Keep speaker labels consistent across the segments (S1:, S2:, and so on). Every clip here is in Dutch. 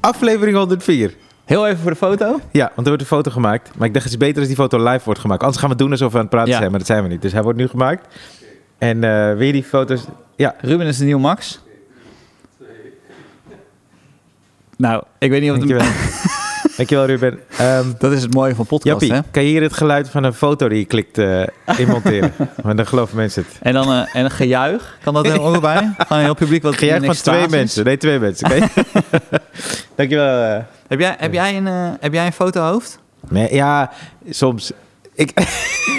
S1: Aflevering 104.
S2: Heel even voor de foto.
S1: Ja, want er wordt een foto gemaakt. Maar ik dacht, het is beter als die foto live wordt gemaakt. Anders gaan we doen alsof we aan het praten
S2: Ja.
S1: zijn, maar dat zijn we niet. Dus hij wordt nu gemaakt. En eh, weer die foto's. Ja,
S2: Ruben is de nieuwe Max. Nou, ik weet niet of het...
S1: dankjewel. dankjewel, Ruben. Ehm
S2: Dat is het mooie van podcast,
S1: Jappie,
S2: hè?
S1: kan je hier het geluid van een foto die je klikt eh in monteren? Want dan geloven mensen het.
S2: En dan eh, en een gejuich. Kan dat er ook bij? Gewoon een heel publiek wat
S1: Gejuich
S2: in
S1: van twee
S2: extase is.
S1: mensen. Nee, twee mensen. Oké. dankjewel. eh.
S2: Heb jij, heb, jij een, eh, heb jij een fotohoofd?
S1: Nee, ja, soms. Ik,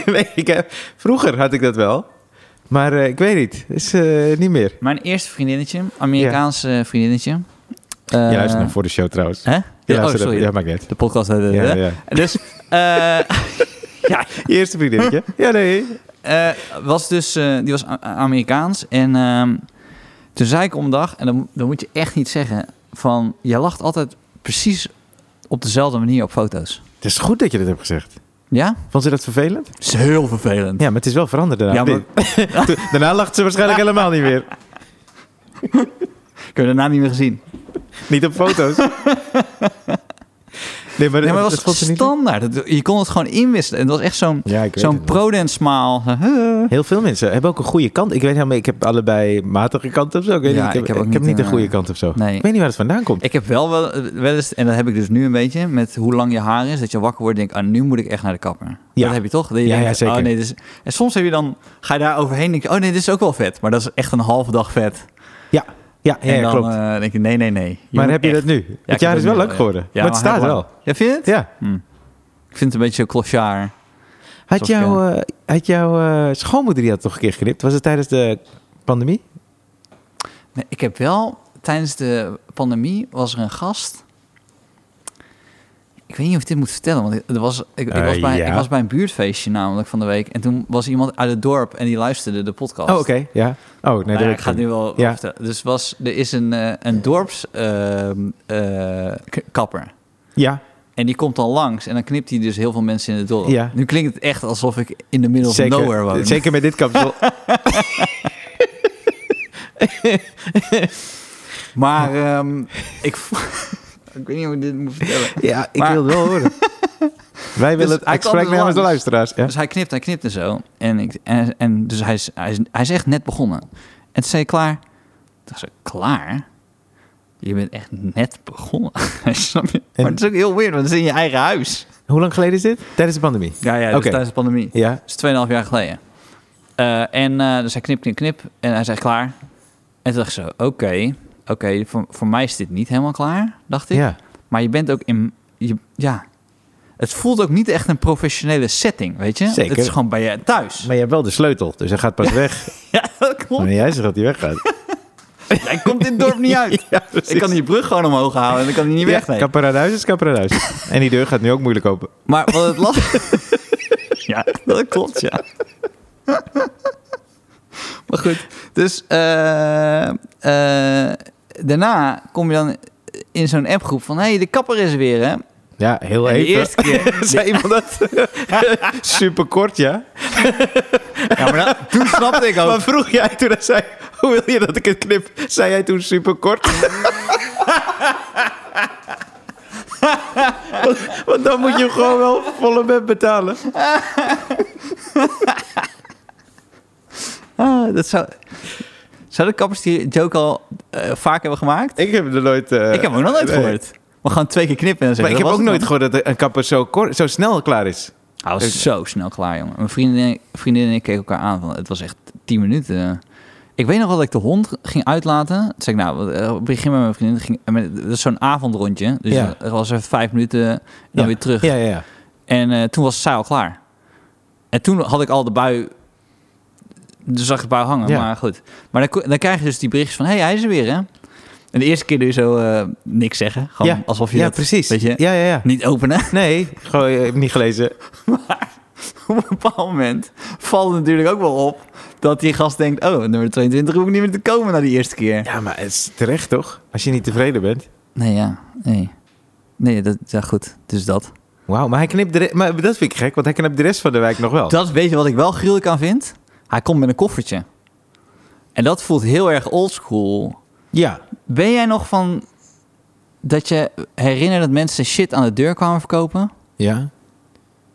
S1: nee, ik heb- vroeger had ik dat wel. Maar eh, ik weet niet. Is eh, niet meer.
S2: Mijn eerste vriendinnetje, Amerikaanse vriendinnetje. Eh,
S1: je luistert nog voor de show trouwens.
S2: Hè?
S1: Je
S2: Ja, oh,
S1: luistert-
S2: sorry.
S1: Ja, maakt niet uit.
S2: De podcast. eh, eh,
S1: Ja,
S2: eh.
S1: ja.
S2: Dus, eh, ja,
S1: Je eerste vriendinnetje. ja, nee.
S2: Eh, was dus, eh, die was A- A- Amerikaans. En ehm, toen zei ik om een dag, en dan, dan moet je echt niet zeggen: van jij lacht altijd precies op dezelfde manier op foto's.
S1: Het is goed dat je dat hebt gezegd.
S2: Ja?
S1: Vond ze dat vervelend?
S2: Dat is heel vervelend.
S1: Ja, maar het is wel veranderd daarna.
S2: Ja, maar-
S1: Dit- Toen- daarna lacht ze waarschijnlijk helemaal niet meer.
S2: Ik heb daarna niet meer gezien.
S1: Niet op foto's. Nee, maar,
S2: Nee, maar
S1: dat
S2: het was
S1: vond ze niet.
S2: standaard. Het- Je kon het gewoon inwisselen. En het was echt zo'n
S1: Ja, ik weet
S2: zo'n
S1: het wel.
S2: prodent smile.
S1: Heel veel mensen hebben ook een goede kant. Ik weet helemaal, ik heb allebei matige kanten of zo. Ik, weet
S2: Ja,
S1: niet, ik heb, ik heb,
S2: ook niet
S1: niet de
S2: een,
S1: goede
S2: eh,
S1: kant of zo.
S2: nee.
S1: Ik weet niet waar het vandaan komt.
S2: Ik heb wel, wel wel eens, en dat heb ik dus nu een beetje, met hoe lang je haar is, dat je wakker wordt en denkt, ah, nu moet ik echt naar de kapper.
S1: Ja.
S2: Dat heb je toch? Dat je
S1: Ja, ja,
S2: denkt,
S1: zeker.
S2: Oh, nee, dit is- en soms heb je dan, ga je daar overheen en denk je, oh nee, dit is ook wel vet. Maar dat is echt een halve dag vet.
S1: Ja, ja, ja,
S2: en dan
S1: klopt.
S2: eh, denk je, nee, nee, nee. Je
S1: maar
S2: moet
S1: heb je
S2: echt-
S1: dat nu?
S2: Ja,
S1: het
S2: ik
S1: jaar
S2: heb
S1: is wel
S2: dat nu
S1: lang geworden.
S2: Ja,
S1: maar het staat
S2: heel
S1: wel.
S2: lang. Ja, vind je het?
S1: Ja.
S2: Ik vind het een beetje clochard.
S1: Had
S2: Zoals
S1: jouw eh, had jouw eh, schoonmoeder die had toch een keer geknipt? Was het tijdens de pandemie?
S2: Nee, ik heb wel, tijdens de pandemie was er een gast. Ik weet niet of ik dit moet vertellen, want ik- er was, ik, ik
S1: Eh,
S2: was bij,
S1: ja.
S2: ik was bij een buurtfeestje namelijk van de week. En toen was iemand uit het dorp en die luisterde de podcast.
S1: Oh, oké. Ja. Oh, nee, dat
S2: Nou ja,
S1: weet
S2: ik ga het
S1: niet.
S2: nu wel
S1: Ja.
S2: vertellen. Dus was, er is een, eh, een dorps ehm, eh, k- kapper.
S1: Ja,
S2: En die komt dan langs en dan knipt hij dus heel veel mensen in het dorp.
S1: Ja.
S2: Nu klinkt het echt alsof ik in de middle
S1: zeker.
S2: of nowhere woon.
S1: Zeker met dit kapsel.
S2: Maar ehm, ik, vo- ik weet niet hoe ik dit moet vertellen.
S1: ja, ik
S2: Maar-
S1: wil het wel horen. Wij willen het.
S2: hij
S1: Ik
S2: kwam
S1: spreek
S2: dus
S1: namens de
S2: langs.
S1: luisteraars. Ja.
S2: Dus hij knipt en knipt en zo. En, ik, en, en dus hij is, hij, is, hij is echt net begonnen. En toen zei ik klaar. Toen zei ik, klaar? Je bent echt net begonnen. Snap je?
S1: En-
S2: Maar het is ook heel weird, want het is in je eigen huis.
S1: Hoe lang geleden is dit? Tijdens de pandemie?
S2: Ja, ja, dus
S1: Oké.
S2: tijdens de pandemie.
S1: Ja.
S2: Dat is 2,5 jaar geleden. Eh, en eh, dus hij knip, knip, knip. En hij zei klaar. En toen dacht ik zo, oké, oké, voor, voor mij is dit niet helemaal klaar, dacht ik.
S1: Ja.
S2: Maar je bent ook in, je, ja, het voelt ook niet echt een professionele setting, weet je?
S1: Zeker.
S2: Het is gewoon bij je thuis.
S1: Maar je hebt wel de sleutel, dus hij gaat pas weg.
S2: Ja, dat klopt.
S1: Wanneer jij zegt dat hij weggaat.
S2: Hij komt dit dorp niet uit.
S1: Ja, precies.
S2: ik kan die brug gewoon omhoog halen en dan kan hij niet weg.
S1: Ja,
S2: nee.
S1: kapper aan huis is kapper aan huis. en die deur gaat nu ook moeilijk open.
S2: Maar wat het lastig... ja, dat klopt, ja. maar goed, dus eh, eh, daarna kom je dan in zo'n appgroep van... hé, hey, de kapper is er weer, hè? En
S1: Ja, heel
S2: de
S1: even.
S2: eerste keer...
S1: Zei iemand dat? Super kort, ja.
S2: Ja, maar dat, toen snapte ik ook...
S1: Maar vroeg jij toen, hij zei, hoe wil je dat ik het knip? Zei jij toen super kort? want, want dan moet je hem gewoon wel volle bed betalen.
S2: Ah, dat zou... Zou de kappers die joke al eh, vaak hebben gemaakt?
S1: Ik heb er nooit... eh,
S2: ik heb hem ook nog nooit
S1: nee.
S2: gehoord. Maar gewoon twee keer knippen en
S1: Maar ik
S2: zeggen...
S1: heb ook
S2: dat
S1: nooit
S2: was het
S1: gehoord dat een kapper zo, kort, zo snel klaar is.
S2: dan. Hij was zo snel klaar, jongen. Mijn vriendin, vriendin en ik keken elkaar aan. Van, het was echt tien minuten. Ik weet nog wel dat ik de hond ging uitlaten. Toen zei ik, nou, eh, begin met mijn vriendin. Ging, en met- dat is zo'n avondrondje. Dus
S1: Ja.
S2: er was even vijf minuten, dan
S1: Ja.
S2: weer terug.
S1: Ja, ja, ja.
S2: En eh, toen was zij al klaar. En toen had ik al de bui... Dus zag ik de bui hangen,
S1: Ja.
S2: maar goed. Maar dan, ko- dan krijg je dus die berichtjes van... Hé, hey, hij is er weer, hè? En de eerste keer doe je zo eh, niks zeggen. Gewoon
S1: ja.
S2: alsof je
S1: Ja,
S2: dat,
S1: precies.
S2: Weet je,
S1: Ja, ja, ja.
S2: niet openen.
S1: Nee, gewoon, ik heb niet gelezen.
S2: Op een bepaald moment valt het natuurlijk ook wel op... dat die gast denkt... Oh, nummer 22 hoef ik niet meer te komen na die eerste keer.
S1: Ja, maar het is terecht toch? Als je niet tevreden bent.
S2: Nee, ja. Nee, nee dat, ja, goed. Dus dat.
S1: Wauw, maar hij knipt de re- maar dat vind ik gek, want hij knipt de rest van de wijk nog wel.
S2: Dat weet je wat ik wel gruwelijk aan vind? Hij komt met een koffertje. En dat voelt heel erg oldschool...
S1: Ja,
S2: Ben jij nog van dat je herinnert dat mensen shit aan de deur kwamen verkopen.
S1: Ja.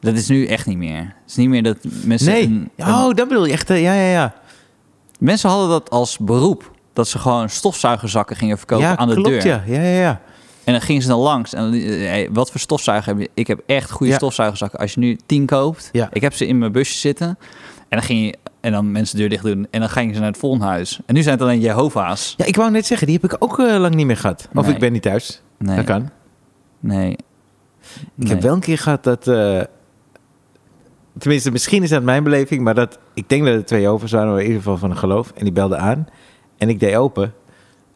S2: Dat is nu echt niet meer. Het is niet meer dat mensen...
S1: Nee.
S2: een- een-
S1: Oh, dat bedoel je echt. eh, Ja, ja, ja.
S2: mensen hadden dat als beroep. Dat ze gewoon stofzuigerzakken gingen verkopen
S1: ja,
S2: aan de
S1: klopt,
S2: deur.
S1: Ja, ja, ja. ja.
S2: En dan gingen ze dan langs. En eh, hey, wat voor stofzuiger heb je? Ik heb echt goede
S1: Ja.
S2: stofzuigerzakken. Als je nu tien koopt.
S1: Ja.
S2: Ik heb ze in mijn busje zitten. En dan, ging je, en dan mensen de deur dicht doen. En dan gingen ze naar het volgende huis. En nu zijn het alleen Jehovah's.
S1: Ja, ik wou net zeggen, die heb ik ook eh, lang niet meer gehad. Of
S2: Nee.
S1: ik ben niet thuis.
S2: Nee.
S1: Dat kan.
S2: Nee.
S1: Ik heb wel een keer gehad dat. eh, tenminste, misschien is dat mijn beleving, maar dat. Ik denk dat er twee overs waren, maar in ieder geval van een geloof. En die belde aan. En ik deed open.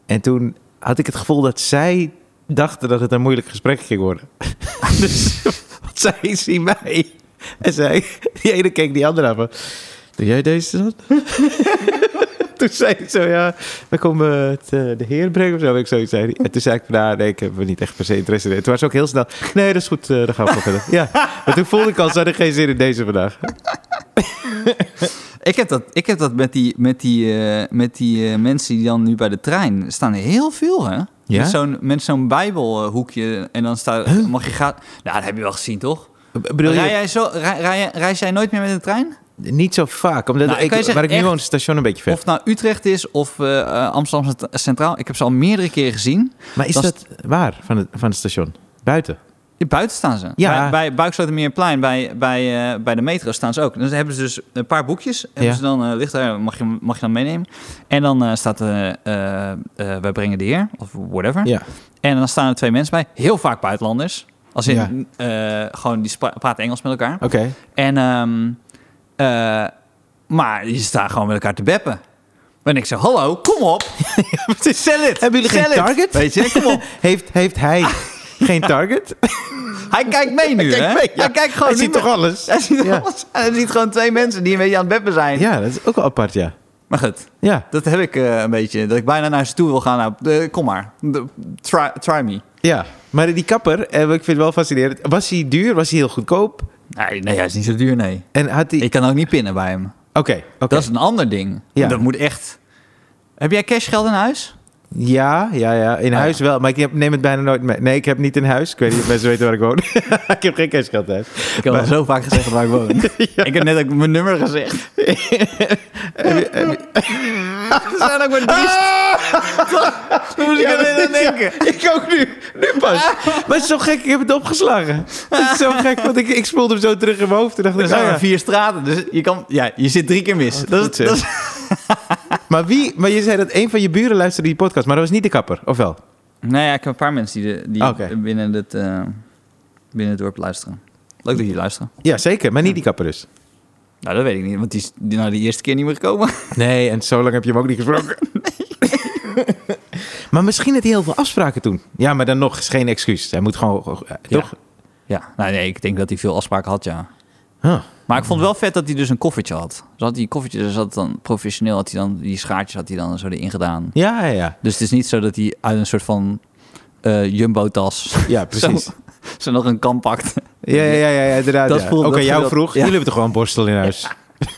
S1: En toen had ik het gevoel dat zij dachten dat het een moeilijk gesprek ging worden. dus want zij zien mij. En zij, die ene keek die andere aan. van, Doe jij deze dan? toen zei ik zo, ja, we komen het, eh, de heer brengen of zo. weet Ik zoiets zei. En toen zei ik, van, nou, nee, ik heb er niet echt per se interesse in. Toen was ze ook heel snel, nee, dat is goed, eh, dan gaan we gewoon verder. Ja, maar toen voelde ik al, ze hadden geen zin in deze vandaag.
S2: Ik heb dat, ik heb dat met die, met die, eh, met die eh, mensen die dan nu bij de trein staan. er Heel veel, hè?
S1: Ja?
S2: Met zo'n, met zo'n bijbelhoekje. En dan staat, mag je gaan... Nou, dat heb je wel gezien, toch?
S1: Bedoel
S2: Rij
S1: je,
S2: jij zo, rij, rij- reis jij nooit meer met de trein?
S1: niet zo vaak, omdat
S2: Nou,
S1: ik,
S2: kan je zeggen,
S1: waar ik nu
S2: echt-
S1: woon is het station een beetje ver.
S2: Of het nou Utrecht is of eh, eh, Amsterdam Cent- Centraal. Ik heb ze al meerdere keren gezien.
S1: maar is
S2: dat
S1: dat,
S2: is-
S1: waar, van het, van het station? Buiten?
S2: Buiten staan ze.
S1: Ja.
S2: Bij, bij Buikslotermeerplein, bij, bij, eh, bij de metro staan ze ook. Dan hebben ze dus een paar boekjes. Hebben
S1: Ja.
S2: ze dan, eh, ligt daar, mag je, mag je dan meenemen. En dan eh, staat, eh, eh, eh, wij brengen de heer, of whatever.
S1: Ja.
S2: En dan staan er twee mensen bij. Heel vaak buitenlanders. Als in,
S1: Ja. Oh.
S2: eh, gewoon, die spra- praten Engels met elkaar.
S1: Oké.
S2: En, ehm, eh, maar die staan gewoon met elkaar te beppen. En ik zeg, hallo, kom op. Sell it.
S1: Hebben jullie geen
S2: Sell it.
S1: target?
S2: Weet je, kom op.
S1: Heeft, heeft hij geen target?
S2: Hij kijkt mee nu, hè?
S1: Kijk mee, ja.
S2: Hij kijkt gewoon
S1: hij ziet
S2: niet meer-
S1: toch alles?
S2: Hij ziet
S1: Ja.
S2: alles. En hij ziet gewoon twee mensen die een beetje aan het beppen zijn.
S1: Ja, dat is ook wel apart, ja.
S2: Maar goed,
S1: Ja,
S2: dat heb ik eh, een beetje. Dat ik bijna naar ze toe wil gaan. Nou, eh, kom maar. De- try, try me.
S1: ja. Maar die kapper, eh, ik vind het wel fascinerend. Was hij duur? Was hij heel goedkoop?
S2: Nee, nee, hij is niet zo duur, nee.
S1: En had hij...
S2: Ik kan ook niet pinnen bij hem.
S1: Oké, oké.
S2: Dat is een ander ding.
S1: Ja.
S2: Dat moet echt... Heb jij cashgeld in huis?
S1: Ja, ja, ja. In
S2: ja.
S1: huis wel. Maar ik heb- neem het bijna nooit mee. Nee, ik heb niet in huis. Ik weet niet of mensen weten waar ik woon. ik heb geen cashgeld thuis.
S2: Ik heb al zo vaak gezegd waar ik woon. Ik heb net ook mijn nummer gezegd. Ze zijn ook maar driest. Daar moest ik
S1: Ja,
S2: aan
S1: dat is-
S2: denken.
S1: Ik ook nu. Nu pas. Maar het is zo gek. Ik heb het opgeslagen. Het is zo gek. Want ik, ik spoelde hem zo terug in mijn hoofd. En dacht
S2: Er
S1: ik,
S2: zijn
S1: oh ja.
S2: maar vier straten, dus je, kan, ja, je zit drie keer mis. dat,
S1: Oh, goed, zeg.
S2: is, dat is-
S1: Maar wie... Maar je zei dat een van je buren luisterde die podcast. Maar dat was niet de kapper, of wel?
S2: Nou ja, ik heb een paar mensen die, de- die
S1: Oké.
S2: binnen, het, eh, binnen het dorp luisteren. Leuk dat jullie luisteren.
S1: Ja, zeker. Maar niet die kapper dus.
S2: Nou, dat weet ik niet, want die is die- nou de eerste keer niet meer gekomen.
S1: Nee, en zo lang heb je hem ook niet gesproken. maar misschien had hij heel veel afspraken toen. Ja, maar dan nog is geen excuus. Hij moet gewoon... eh,
S2: Ja.
S1: Toch?
S2: Ja, nou nee, ik denk dat hij veel afspraken had, ja.
S1: Huh.
S2: Maar ik vond het wel vet dat hij dus een koffertje had. Dus had hij een koffertje, dus had dan professioneel, had hij dan, die schaartjes had hij dan zo erin gedaan.
S1: Ja, ja, ja.
S2: Dus het is niet zo dat hij uit een soort van eh, jumbo-tas
S1: Ja, precies. Eh.
S2: zo, zo nog een kan pakt.
S1: Ja, ja, ja, ja inderdaad.
S2: Dat
S1: ja.
S2: voelde-
S1: Ook
S2: dat
S1: aan jou
S2: voelde-
S1: vroeg.
S2: ja.
S1: Jullie hebben toch gewoon een borstel in huis?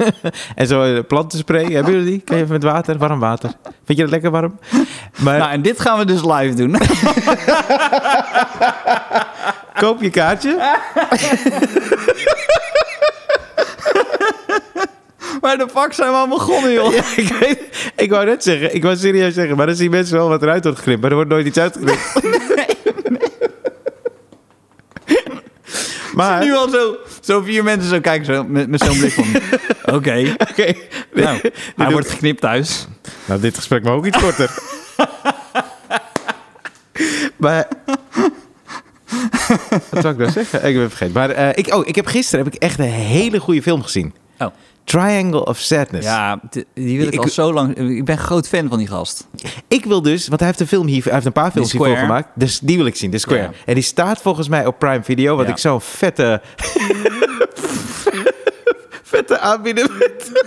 S1: en zo eh, plantenspray. Hebben jullie die? Kan je even met water? Warm water. Vind je dat lekker warm? Maar
S2: Nou, en dit gaan we dus live doen.
S1: koop je kaartje.
S2: Maar de pak zijn we al begonnen, joh.
S1: Ja, ik, weet, ik wou net zeggen, ik wou serieus zeggen, maar dan zien mensen wel wat eruit wordt geknipt. Maar er wordt nooit iets uitgeknipt. Maar,
S2: Nu
S1: oké,
S2: al zo, zo vier mensen zo kijken zo, met, met zo'n blik van... Oké, nou, hij
S1: doe
S2: wordt geknipt thuis.
S1: nou, dit gesprek mag ook iets korter. maar Wat zou ik nou zeggen? Ik ben vergeten. Maar eh, ik, oh, ik heb gisteren heb ik echt een hele goede film gezien.
S2: Oh.
S1: Triangle of Sadness.
S2: Ja, d- die wil ik,
S1: Ik-
S2: al zo lang... Ik ben groot fan van die gast.
S1: Ik wil dus, want hij heeft een film hier, hij heeft een paar films
S2: Square.
S1: hiervoor gemaakt. Dus die wil ik zien, The Square.
S2: Ja.
S1: En die staat volgens mij op Prime Video, wat
S2: Ja.
S1: ik zo'n vette... vette aanbieder vind.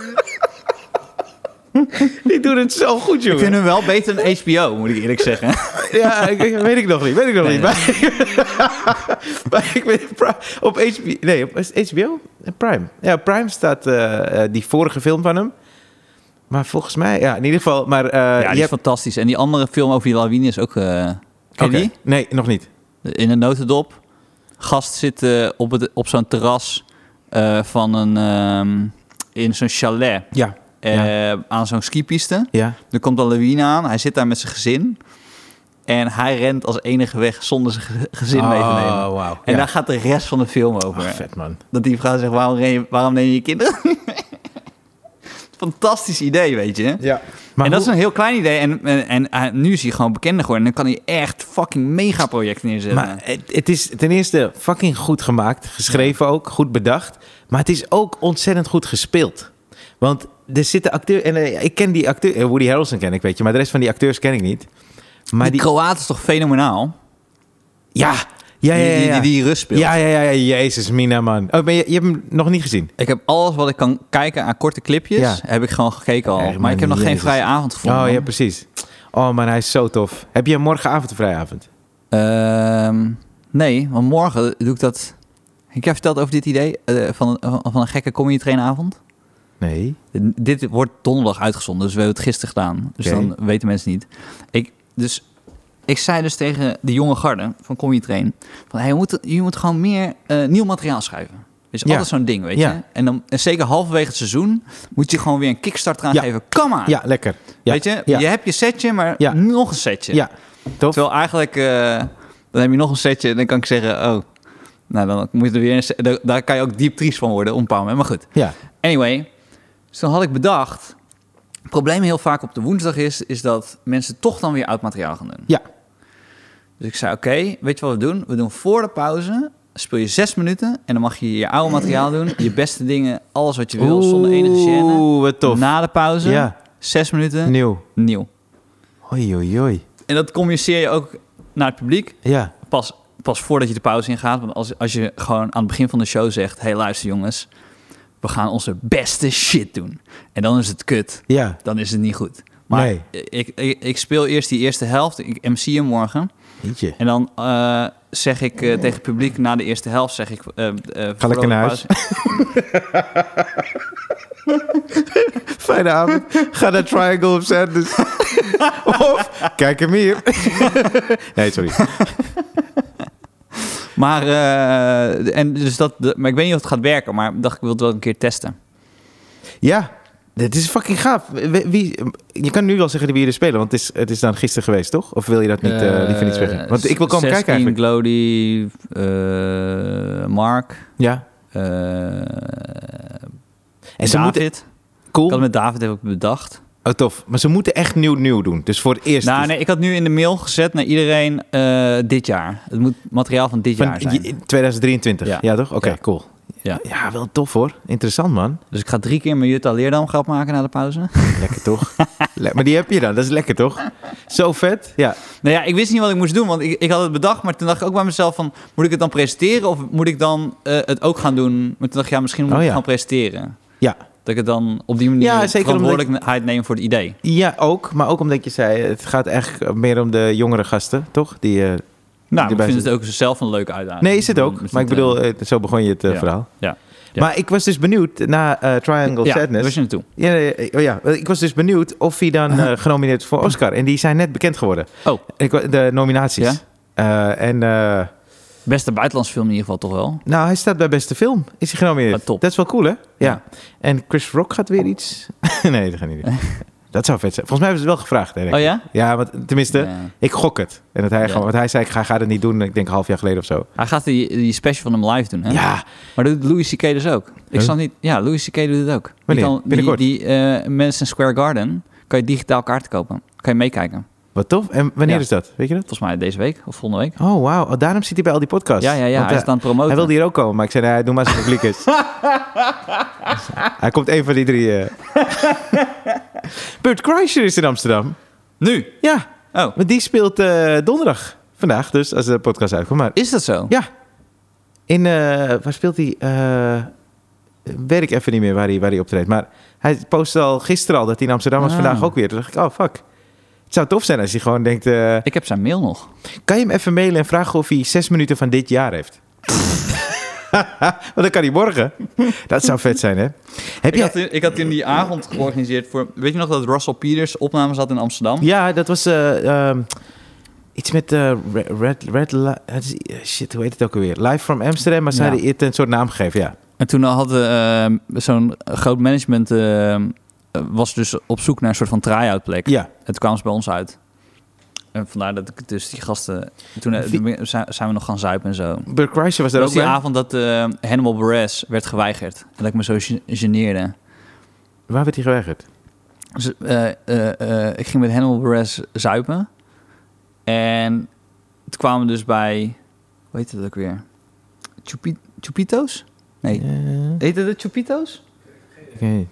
S1: die doen het zo goed,
S2: Ik
S1: jongen.
S2: vind hem wel beter dan HBO, moet ik eerlijk zeggen.
S1: Ja, ik, ik- weet ik nog niet, weet ik nog
S2: Nee,
S1: niet. Maar, maar ik weet, Pri- op HBO, nee, op is het HBO? Eh, Prime. Ja, Prime staat eh, eh, die vorige film van hem. Maar volgens mij, ja, in ieder geval, maar eh,
S2: ja, die
S1: je
S2: is
S1: hebt
S2: fantastisch. En die andere film over die lawine is ook... eh, Heb je
S1: Oké.
S2: die?
S1: Nee, nog niet.
S2: In een notendop. Gast zit eh, op, het, op zo'n terras eh, van een... ehm, in zo'n chalet
S1: Ja.
S2: eh, aan zo'n skipiste.
S1: Ja.
S2: Er komt een lawine aan. Hij zit daar met zijn gezin. En hij rent als enige weg zonder zijn ge- gezin mee te nemen.
S1: Oh, wauw.
S2: En
S1: Ja.
S2: daar gaat de rest van de film over.
S1: Ach, vet, man.
S2: Dat die vrouw zegt, waarom, ren je- waarom neem je je kinderen? Fantastisch idee, weet je.
S1: Ja. Maar
S2: en dat is
S1: hoe-
S2: een heel klein idee. En, en, en eh, nu is hij gewoon bekender geworden. En dan kan hij echt fucking megaprojecten neerzetten.
S1: Maar het, het is ten eerste fucking goed gemaakt, geschreven ook, goed bedacht. Maar het is ook ontzettend goed gespeeld. Want er zitten acteurs, en eh, ik ken die acteur, eh, Woody Harrelson ken ik, weet je, maar de rest van die acteurs ken ik niet. Maar
S2: die,
S1: die,
S2: Kroaat is toch fenomenaal?
S1: ja, ja, ja, ja,
S2: Die,
S1: ja.
S2: die, die, die rust speelt.
S1: ja, ja, ja, ja, jezus, Mina, man. Oh, ben je, je hebt hem nog niet gezien.
S2: Ik heb alles wat ik kan kijken aan korte clipjes,
S1: Ja.
S2: heb ik gewoon gekeken al.
S1: Echt,
S2: maar
S1: man,
S2: ik heb nog geen
S1: jezus.
S2: vrije avond gevonden.
S1: Oh,
S2: man.
S1: ja, precies. Oh, man, hij is zo tof. Heb je morgenavond een vrijavond?
S2: Ehm, nee, want morgen doe ik dat. Ik heb verteld over dit idee eh, van, van, van een gekke comedy trainavond.
S1: Nee.
S2: Dit wordt donderdag uitgezonden, dus we hebben het gisteren gedaan. Dus
S1: Oké.
S2: dan weten mensen niet. Ik, dus, ik zei dus tegen de jonge garde van Comedy Train... Van, hey, je, moet, je moet gewoon meer eh, nieuw materiaal schrijven. is
S1: Ja.
S2: altijd zo'n ding, weet
S1: Ja.
S2: je. En, dan, en zeker halverwege het seizoen moet je gewoon weer een kickstart eraan
S1: Ja.
S2: geven. Kom aan!
S1: Ja, lekker. Ja.
S2: Weet je,
S1: Ja.
S2: je hebt je setje, maar
S1: Ja.
S2: nog een setje.
S1: Ja, tof.
S2: Terwijl eigenlijk, eh, dan heb je nog een setje en dan kan ik zeggen, oh, nou dan moet je er weer een se- daar- Daar kan je ook diep triest van worden, op een bepaald moment. Maar goed,
S1: Ja,
S2: anyway. Dus dan had ik bedacht, het probleem heel vaak op de woensdag is, is dat mensen toch dan weer oud materiaal gaan doen.
S1: ja,
S2: Dus ik zei, oké, weet je wat we doen? We doen voor de pauze, speel je zes minuten en dan mag je je oude materiaal doen. Je beste dingen, alles wat je wil, zonder enige gêne.
S1: Oeh, wat tof.
S2: Na de pauze,
S1: Ja.
S2: zes minuten,
S1: Nieuw.
S2: nieuw.
S1: Oei, oei, oei.
S2: En dat communiceer je ook naar het publiek
S1: Ja,
S2: pas, pas voordat je de pauze ingaat. Want als, als je gewoon aan het begin van de show zegt... hey, luister jongens, we gaan onze beste shit doen. En dan is het kut.
S1: ja.
S2: Dan is het niet goed. Maar
S1: Nee.
S2: ik, ik, ik speel eerst die eerste helft. Ik MC hem morgen.
S1: Jeetje.
S2: En dan eh, zeg ik eh, tegen het publiek na de eerste helft... zeg ik... eh, eh, voordat de
S1: naar huis.
S2: pauze-
S1: Fijne avond. Ga naar Triangle of Sadness. of kijk hem hier. nee, sorry.
S2: Maar, eh, en dus dat, maar ik weet niet of het gaat werken. Maar ik dacht, ik wil het wel een keer testen.
S1: Ja, dit is fucking gaaf. Wie, wie- je kan nu wel zeggen wie er spelen, want het is, het is dan gisteren geweest, toch? Of wil je dat niet, eh, liever niet zeggen? Want ik wil komen kijken eigenlijk.
S2: Glody, eh, Mark...
S1: Ja.
S2: Eh
S1: En ze
S2: David.
S1: moeten,
S2: Ik had
S1: cool.
S2: met David heb ik bedacht.
S1: Oh, tof. Maar ze moeten echt nieuw nieuw doen. Dus voor het eerst.
S2: nou, nee, ik had nu in de mail gezet naar iedereen eh, dit jaar. Het moet materiaal van dit jaar
S1: van
S2: zijn.
S1: j- 2023. Ja,
S2: Ja.
S1: toch? Oké,
S2: Ja.
S1: cool.
S2: Ja.
S1: ja, wel tof hoor. Interessant man.
S2: Dus ik ga drie keer mijn Jutta Leerdam grap maken na de pauze.
S1: Lekker toch? Le- maar die heb je dan. Dat is lekker toch? Zo vet. Ja.
S2: nou ja, ik wist niet wat ik moest doen, want ik, ik had het bedacht. Maar toen dacht ik ook bij mezelf van, moet ik het dan presenteren of moet ik dan eh, het ook gaan doen? Maar toen dacht ik, ja, misschien moet
S1: Oh,
S2: ik
S1: ja.
S2: het gaan presenteren.
S1: Ja.
S2: Dat ik het dan op die manier
S1: Ja, zeker omdat ik-
S2: verantwoordelijkheid neem voor het idee.
S1: Ja, ook. Maar ook omdat je zei, het gaat echt meer om de jongere gasten, toch? Die, eh,
S2: Nou,
S1: Die
S2: ik vind
S1: bij-
S2: het ook zelf een leuke uitdaging.
S1: Nee, is het
S2: Om- om
S1: ook. Maar ik
S2: te-
S1: bedoel, eh, zo begon je het eh,
S2: Ja.
S1: verhaal.
S2: Ja. Ja.
S1: Maar ik was dus benieuwd, na eh, Triangle
S2: ja, daar was
S1: Sadness...
S2: je naartoe.
S1: Ja, nee, eh, oh ja, ik was dus benieuwd of hij dan eh, genomineerd is voor Oscar. En die zijn net bekend geworden.
S2: Oh,
S1: Ik, wa- de nominaties.
S2: Ja?
S1: Eh, en eh,
S2: beste buitenlands film in ieder geval toch wel.
S1: nou, hij staat bij beste film. Is hij genomineerd?
S2: Ah, top.
S1: Dat is wel cool, hè? Ja.
S2: Ja.
S1: En Chris Rock gaat weer iets... nee, dat gaat niet doen. dat zou vet zijn. Volgens mij hebben ze het wel gevraagd. Hè, denk
S2: Oh
S1: ik.
S2: ja?
S1: Ja, want tenminste,
S2: Ja.
S1: ik gok het. En dat hij
S2: Ja.
S1: gewoon, want hij zei, ik ga, ga dat niet doen, ik denk een half jaar geleden of zo.
S2: Hij gaat die, die special van hem live doen, hè?
S1: Ja,
S2: Maar doet Louis C.K. dus ook. Ik
S1: Huh?
S2: snap niet... Ja, Louis C.K. doet het ook. Die
S1: Wanneer?
S2: kan- Die,
S1: Binnenkort?
S2: die eh, Madison Square Garden kan je digitaal kaarten kopen. Kan je meekijken.
S1: wat tof. En wanneer
S2: Ja.
S1: is dat? Weet je dat?
S2: Volgens mij deze week of volgende week.
S1: Oh, wauw. Oh, daarom zit hij bij al die podcasts.
S2: Ja, ja, ja.
S1: Want,
S2: hij
S1: eh,
S2: is het aan het promoten.
S1: hij wilde hier ook komen, maar ik zei, nee, doe maar als het publiek is. hij komt één van die drie. eh. Bert Kreischer is in Amsterdam.
S2: Nu?
S1: Ja,
S2: Oh,
S1: want die speelt eh, donderdag. Vandaag dus, als de podcast uitkomt. Maar
S2: is dat zo?
S1: ja, in, eh, waar speelt hij? Eh, weet ik even niet meer waar hij, waar hij optreedt. Maar hij postte al gisteren al dat hij in Amsterdam was.
S2: Ah.
S1: Vandaag ook weer. Toen dacht ik, oh fuck. Het zou tof zijn als hij gewoon denkt... eh,
S2: Ik heb zijn mail nog.
S1: Kan je hem even mailen en vragen of hij zes minuten van dit jaar heeft? Want dan kan hij morgen. Dat zou vet zijn, hè? Heb
S2: Ik had,
S1: je...
S2: in- ik had in die avond georganiseerd voor... Weet je nog dat Russell Peters opnames had in Amsterdam?
S1: Ja, dat was... eh, ehm, Iets met eh, Red, Red, Red Li- het is- eh, shit, hoe heet het ook alweer? Live from Amsterdam, maar ze
S2: Ja.
S1: hadden het een soort naam gegeven, ja.
S2: En toen had eh, zo'n groot management... eh, was dus op zoek naar een soort van try-out plek.
S1: Ja,
S2: En toen kwamen ze bij ons uit. En vandaar dat ik dus die gasten... Toen eh,
S1: Wie-
S2: toen zijn zijn we nog gaan zuipen en zo.
S1: Bert Kreischer was daar
S2: Dat was
S1: ook bij.
S2: die avond dat eh Hannibal Buress werd geweigerd. En dat ik me zo gen- geneerde.
S1: Waar werd hij geweigerd?
S2: Dus, eh, eh, eh, ik ging met Hannibal Buress zuipen. En toen kwamen we dus bij... Hoe heet dat ook weer? Chupi- Chupito's? Nee.
S1: Eh,
S2: Heette het Chupito's?
S1: oké.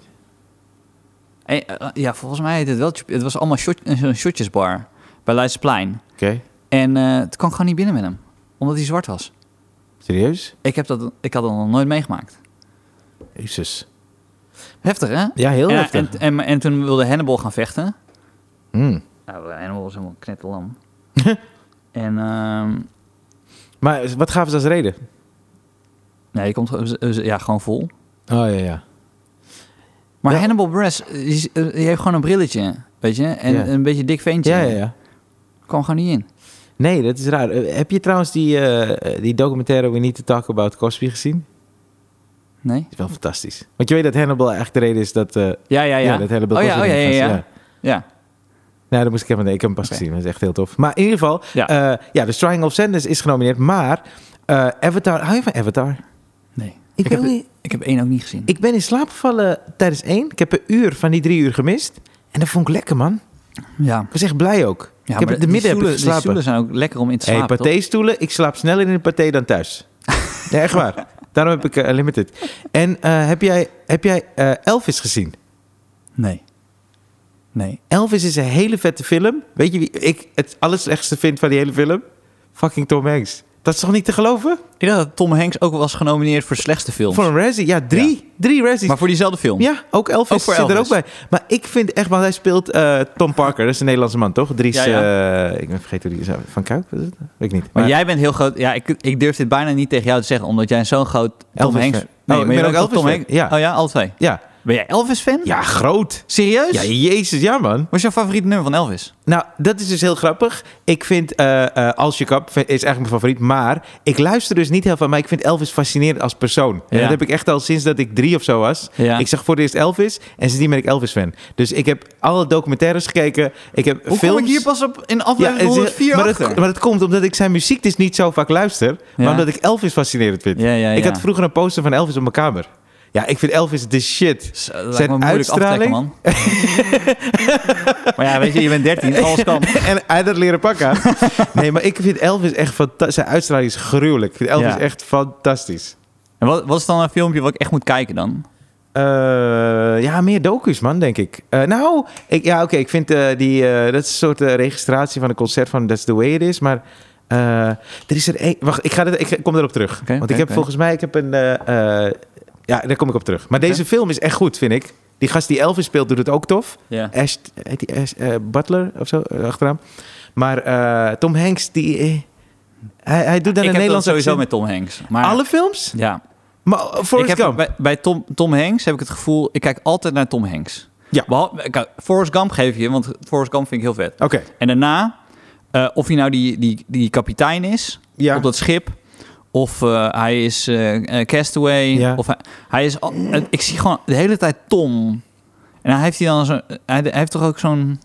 S2: Eh, eh, ja, volgens mij heette het wel Chupi- Het was allemaal shot, een zo'n shotjesbar bij Leidseplein.
S1: Oké,
S2: En eh toen kwam ik gewoon niet binnen met hem. Omdat hij zwart was.
S1: serieus?
S2: Ik, heb dat, ik had dat nog nooit meegemaakt.
S1: Jezus.
S2: Heftig, hè?
S1: Ja, heel
S2: en,
S1: heftig.
S2: En, en, en toen wilde Hannibal gaan vechten.
S1: Mm.
S2: Nou, Hannibal was helemaal knetterlam. en ehm,
S1: Maar wat gaven ze als reden?
S2: nee, je komt gewoon- ja, gewoon vol.
S1: Oh, ja, ja.
S2: Maar
S1: Ja.
S2: Hannibal Buress, eh, die, is- eh, die heeft gewoon een brilletje, weet je? En
S1: Ja.
S2: een beetje dik veentje.
S1: Ja, ja, ja.
S2: Kwam gewoon niet in.
S1: Nee, dat is raar. Eh, Heb je trouwens die, eh, eh, die documentaire We Need to Talk About Cosby gezien?
S2: Nee?
S1: is wel fantastisch. Want je weet dat Hannibal eigenlijk de reden is dat... eh,
S2: Ja, ja,
S1: ja.
S2: ja.
S1: dat Hannibal
S2: oh, ja,
S1: Cosby
S2: oh, ja, ja,
S1: erin
S2: ja.
S1: was,
S2: ja.
S1: Nou, dat moest ik even... Nee, ik heb hem pas
S2: Oké.
S1: gezien. Dat is echt heel tof. Maar in ieder geval...
S2: Ja.
S1: Ja, ja dus Triangle of Sadness is genomineerd. Maar eh, Avatar... Hou je van Avatar?
S2: Nee.
S1: Ik,
S2: Ik,
S1: wil
S2: heb, e-
S1: niet-
S2: ik heb één ook niet gezien.
S1: ik ben in slaap gevallen tijdens één. Ik heb een uur van die drie uur gemist. En dat vond ik lekker, man.
S2: ja.
S1: Ik was echt blij ook.
S2: ja
S1: ik heb
S2: maar
S1: in de
S2: die
S1: midden heb ik
S2: stoelen- die
S1: geslapen.
S2: stoelen zijn ook lekker om in te
S1: Hey,
S2: slapen, toch?
S1: paté-stoelen. Ik slaap sneller in een paté dan thuis. nee, echt waar. Daarom heb ik eh, Unlimited. En eh, heb jij, heb jij eh, Elvis gezien?
S2: Nee. Nee.
S1: Elvis is een hele vette film. Weet je wie ik het allerslechtste vind van die hele film? Fucking Tom Hanks. Dat is toch niet te geloven?
S2: Ik dacht dat Tom Hanks ook was genomineerd voor slechtste films.
S1: Voor een Razzie. Ja, drie. Drie Razzies.
S2: Maar voor diezelfde film.
S1: Ja, ook Elvis
S2: Ook voor
S1: zit er ook
S2: Elvis.
S1: bij. Maar ik vind echt, want hij speelt eh, Tom Parker. Dat is een Nederlandse man, toch? Dries,
S2: Ja,
S1: eh, ik ben vergeten hoe die is. Van Kuik? Was het? Weet ik niet.
S2: Maar, jij bent heel groot. Ja, ik, ik durf dit bijna niet tegen jou te zeggen, omdat jij zo'n groot Tom
S1: Elvis
S2: Hanks.
S1: fan. Oh, ik ben ook
S2: je bent
S1: Elvis fan, ja.
S2: Oh ja, alle twee.
S1: Ja.
S2: Ben jij Elvis fan?
S1: ja, groot.
S2: Serieus?
S1: Ja, jezus, ja man.
S2: Wat is jouw favoriete nummer van Elvis?
S1: Nou, dat is dus heel grappig. Ik vind eh, eh, Als je kap vind- is eigenlijk mijn favoriet. Maar ik luister dus niet heel veel. Maar ik vind Elvis fascinerend als persoon. En
S2: Ja.
S1: dat heb ik echt al sinds dat ik drie of zo was.
S2: Ja.
S1: Ik zag voor het eerst Elvis. En sindsdien ben ik Elvis-fan. Dus ik heb alle documentaires gekeken. Ik heb
S2: Hoe
S1: films...
S2: kom ik hier pas op in
S1: Ja,
S2: aflevering
S1: het is-
S2: 104
S1: maar,
S2: achter?
S1: dat, maar dat komt omdat ik zijn muziek dus niet zo vaak luister. Maar
S2: Ja.
S1: omdat ik Elvis fascinerend vind.
S2: Ja, ja,
S1: Ik
S2: ja.
S1: had vroeger een poster van Elvis op mijn kamer. Ja, ik vind Elvis de shit.
S2: Zo, dat lijkt
S1: zijn
S2: me moeilijk
S1: uitstraling-
S2: af te trekken, man. maar ja, weet je, je bent 13, alles kan.
S1: En hij had dat leren pakken. nee, maar ik vind Elvis echt fantastisch. Zijn uitstraling is gruwelijk. Ik vind Elvis
S2: Ja.
S1: echt fantastisch.
S2: En wat, wat is dan een filmpje wat ik echt moet kijken dan?
S1: Eh, ja, meer docus, man, denk ik. Eh, nou, ik, ja, oké. ik vind eh, die... eh, dat is een soort eh, registratie van een concert van That's the Way It Is. Maar eh, er is er één... Wacht, ik, ga dit, ik kom erop terug.
S2: Oké,
S1: Want
S2: oké,
S1: ik heb
S2: oké.
S1: volgens mij... Ik heb een... eh, eh, ja, daar kom ik op terug. Maar
S2: Oké.
S1: deze film is echt goed, vind ik. Die gast die Elvis speelt, doet het ook tof.
S2: Ja.
S1: Ash, heet die Ash, eh, Butler of zo, eh, achteraan. Maar eh, Tom Hanks, die, eh, hij, hij doet dan
S2: ik
S1: een
S2: heb
S1: Nederlands
S2: dat sowieso
S1: accent.
S2: met Tom Hanks. Maar
S1: Alle films?
S2: ja,
S1: Maar uh, Forrest
S2: ik heb
S1: Gump.
S2: Bij, bij Tom, Tom Hanks heb ik het gevoel, ik kijk altijd naar Tom Hanks.
S1: Ja.
S2: Behal- ik- Forrest Gump geef je, want Forrest Gump vind ik heel vet.
S1: Oké,
S2: En daarna, eh, of hij nou die, die, die kapitein is
S1: Ja.
S2: op dat schip, of eh, hij is eh, eh, castaway,
S1: Ja.
S2: of hij, hij is. al- eh, ik zie gewoon de hele tijd Tom. En hij heeft hij dan zo, eh, hij, hij heeft toch ook zo'n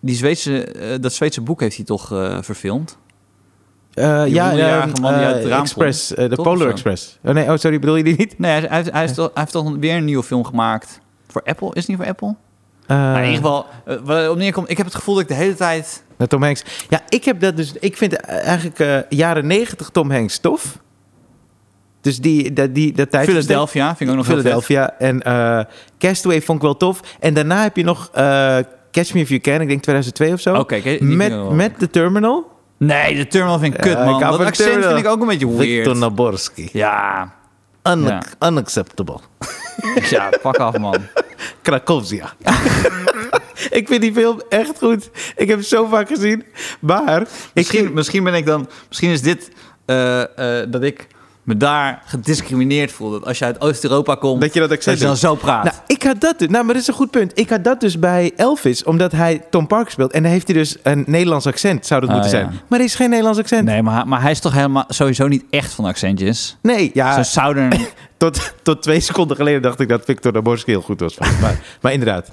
S2: die Zweedse, eh, dat Zweedse boek heeft hij toch eh, verfilmd?
S1: Eh,
S2: Die
S1: ja,
S2: honderjarige
S1: ehm,
S2: man die uit het
S1: eh,
S2: raam
S1: Express, eh, de
S2: Toch of
S1: Polar
S2: zo?
S1: Express. Oh nee, oh sorry, bedoel je die niet?
S2: Nee, hij, hij, heeft- hij, heeft toch- hij heeft toch weer een nieuwe film gemaakt voor Apple? Is het niet voor Apple?
S1: Eh,
S2: Nou, in ieder geval, eh, waar het op neerkomt, ik heb het gevoel dat ik de hele tijd...
S1: met Tom Hanks. Ja, ik heb dat dus. Ik vind eh, eigenlijk eh, jaren negentig Tom Hanks tof. Dus die, dat, die, dat tijd.
S2: Philadelphia vind ik ook nog heel vet.
S1: Philadelphia. En eh, Castaway vond ik wel tof. En daarna heb je nog eh, Catch Me If You Can, ik denk 2002 of zo.
S2: Oké, oké, die vind ik
S1: met,
S2: wel leuk.
S1: met The Terminal.
S2: Nee, de terminal vind ik kut,
S1: Ja,
S2: man.
S1: ik hou
S2: dat
S1: van
S2: accent
S1: Terminal.
S2: vind ik ook een beetje weird.
S1: Victor Naborski.
S2: Ja,
S1: Un-
S2: Ja.
S1: Unacceptable.
S2: ja, pak af, man.
S1: Krakowia. ik vind die film echt goed. Ik heb hem zo vaak gezien. Maar ik
S2: Misschien,
S1: ging...
S2: misschien ben ik dan... Misschien is dit eh, eh, dat ik me daar gediscrimineerd voel. Dat als je uit Oost-Europa komt,
S1: Dat je dat accent
S2: je dan
S1: doet.
S2: zo praat.
S1: Nou, ik had dat dus. Nou, maar dat is een goed punt. Ik had dat dus bij Elvis, omdat hij Tom Parker speelt. En dan heeft hij dus een Nederlands accent, zou dat
S2: Ah,
S1: moeten
S2: ja.
S1: zijn. Maar er is geen Nederlands accent. Nee,
S2: nee, maar, hij- maar hij is toch helemaal sowieso niet echt van accentjes.
S1: ja,
S2: Zo'n Southern...
S1: tot, tot twee seconden geleden dacht ik dat Victor Daborski heel goed was. Maar, maar inderdaad,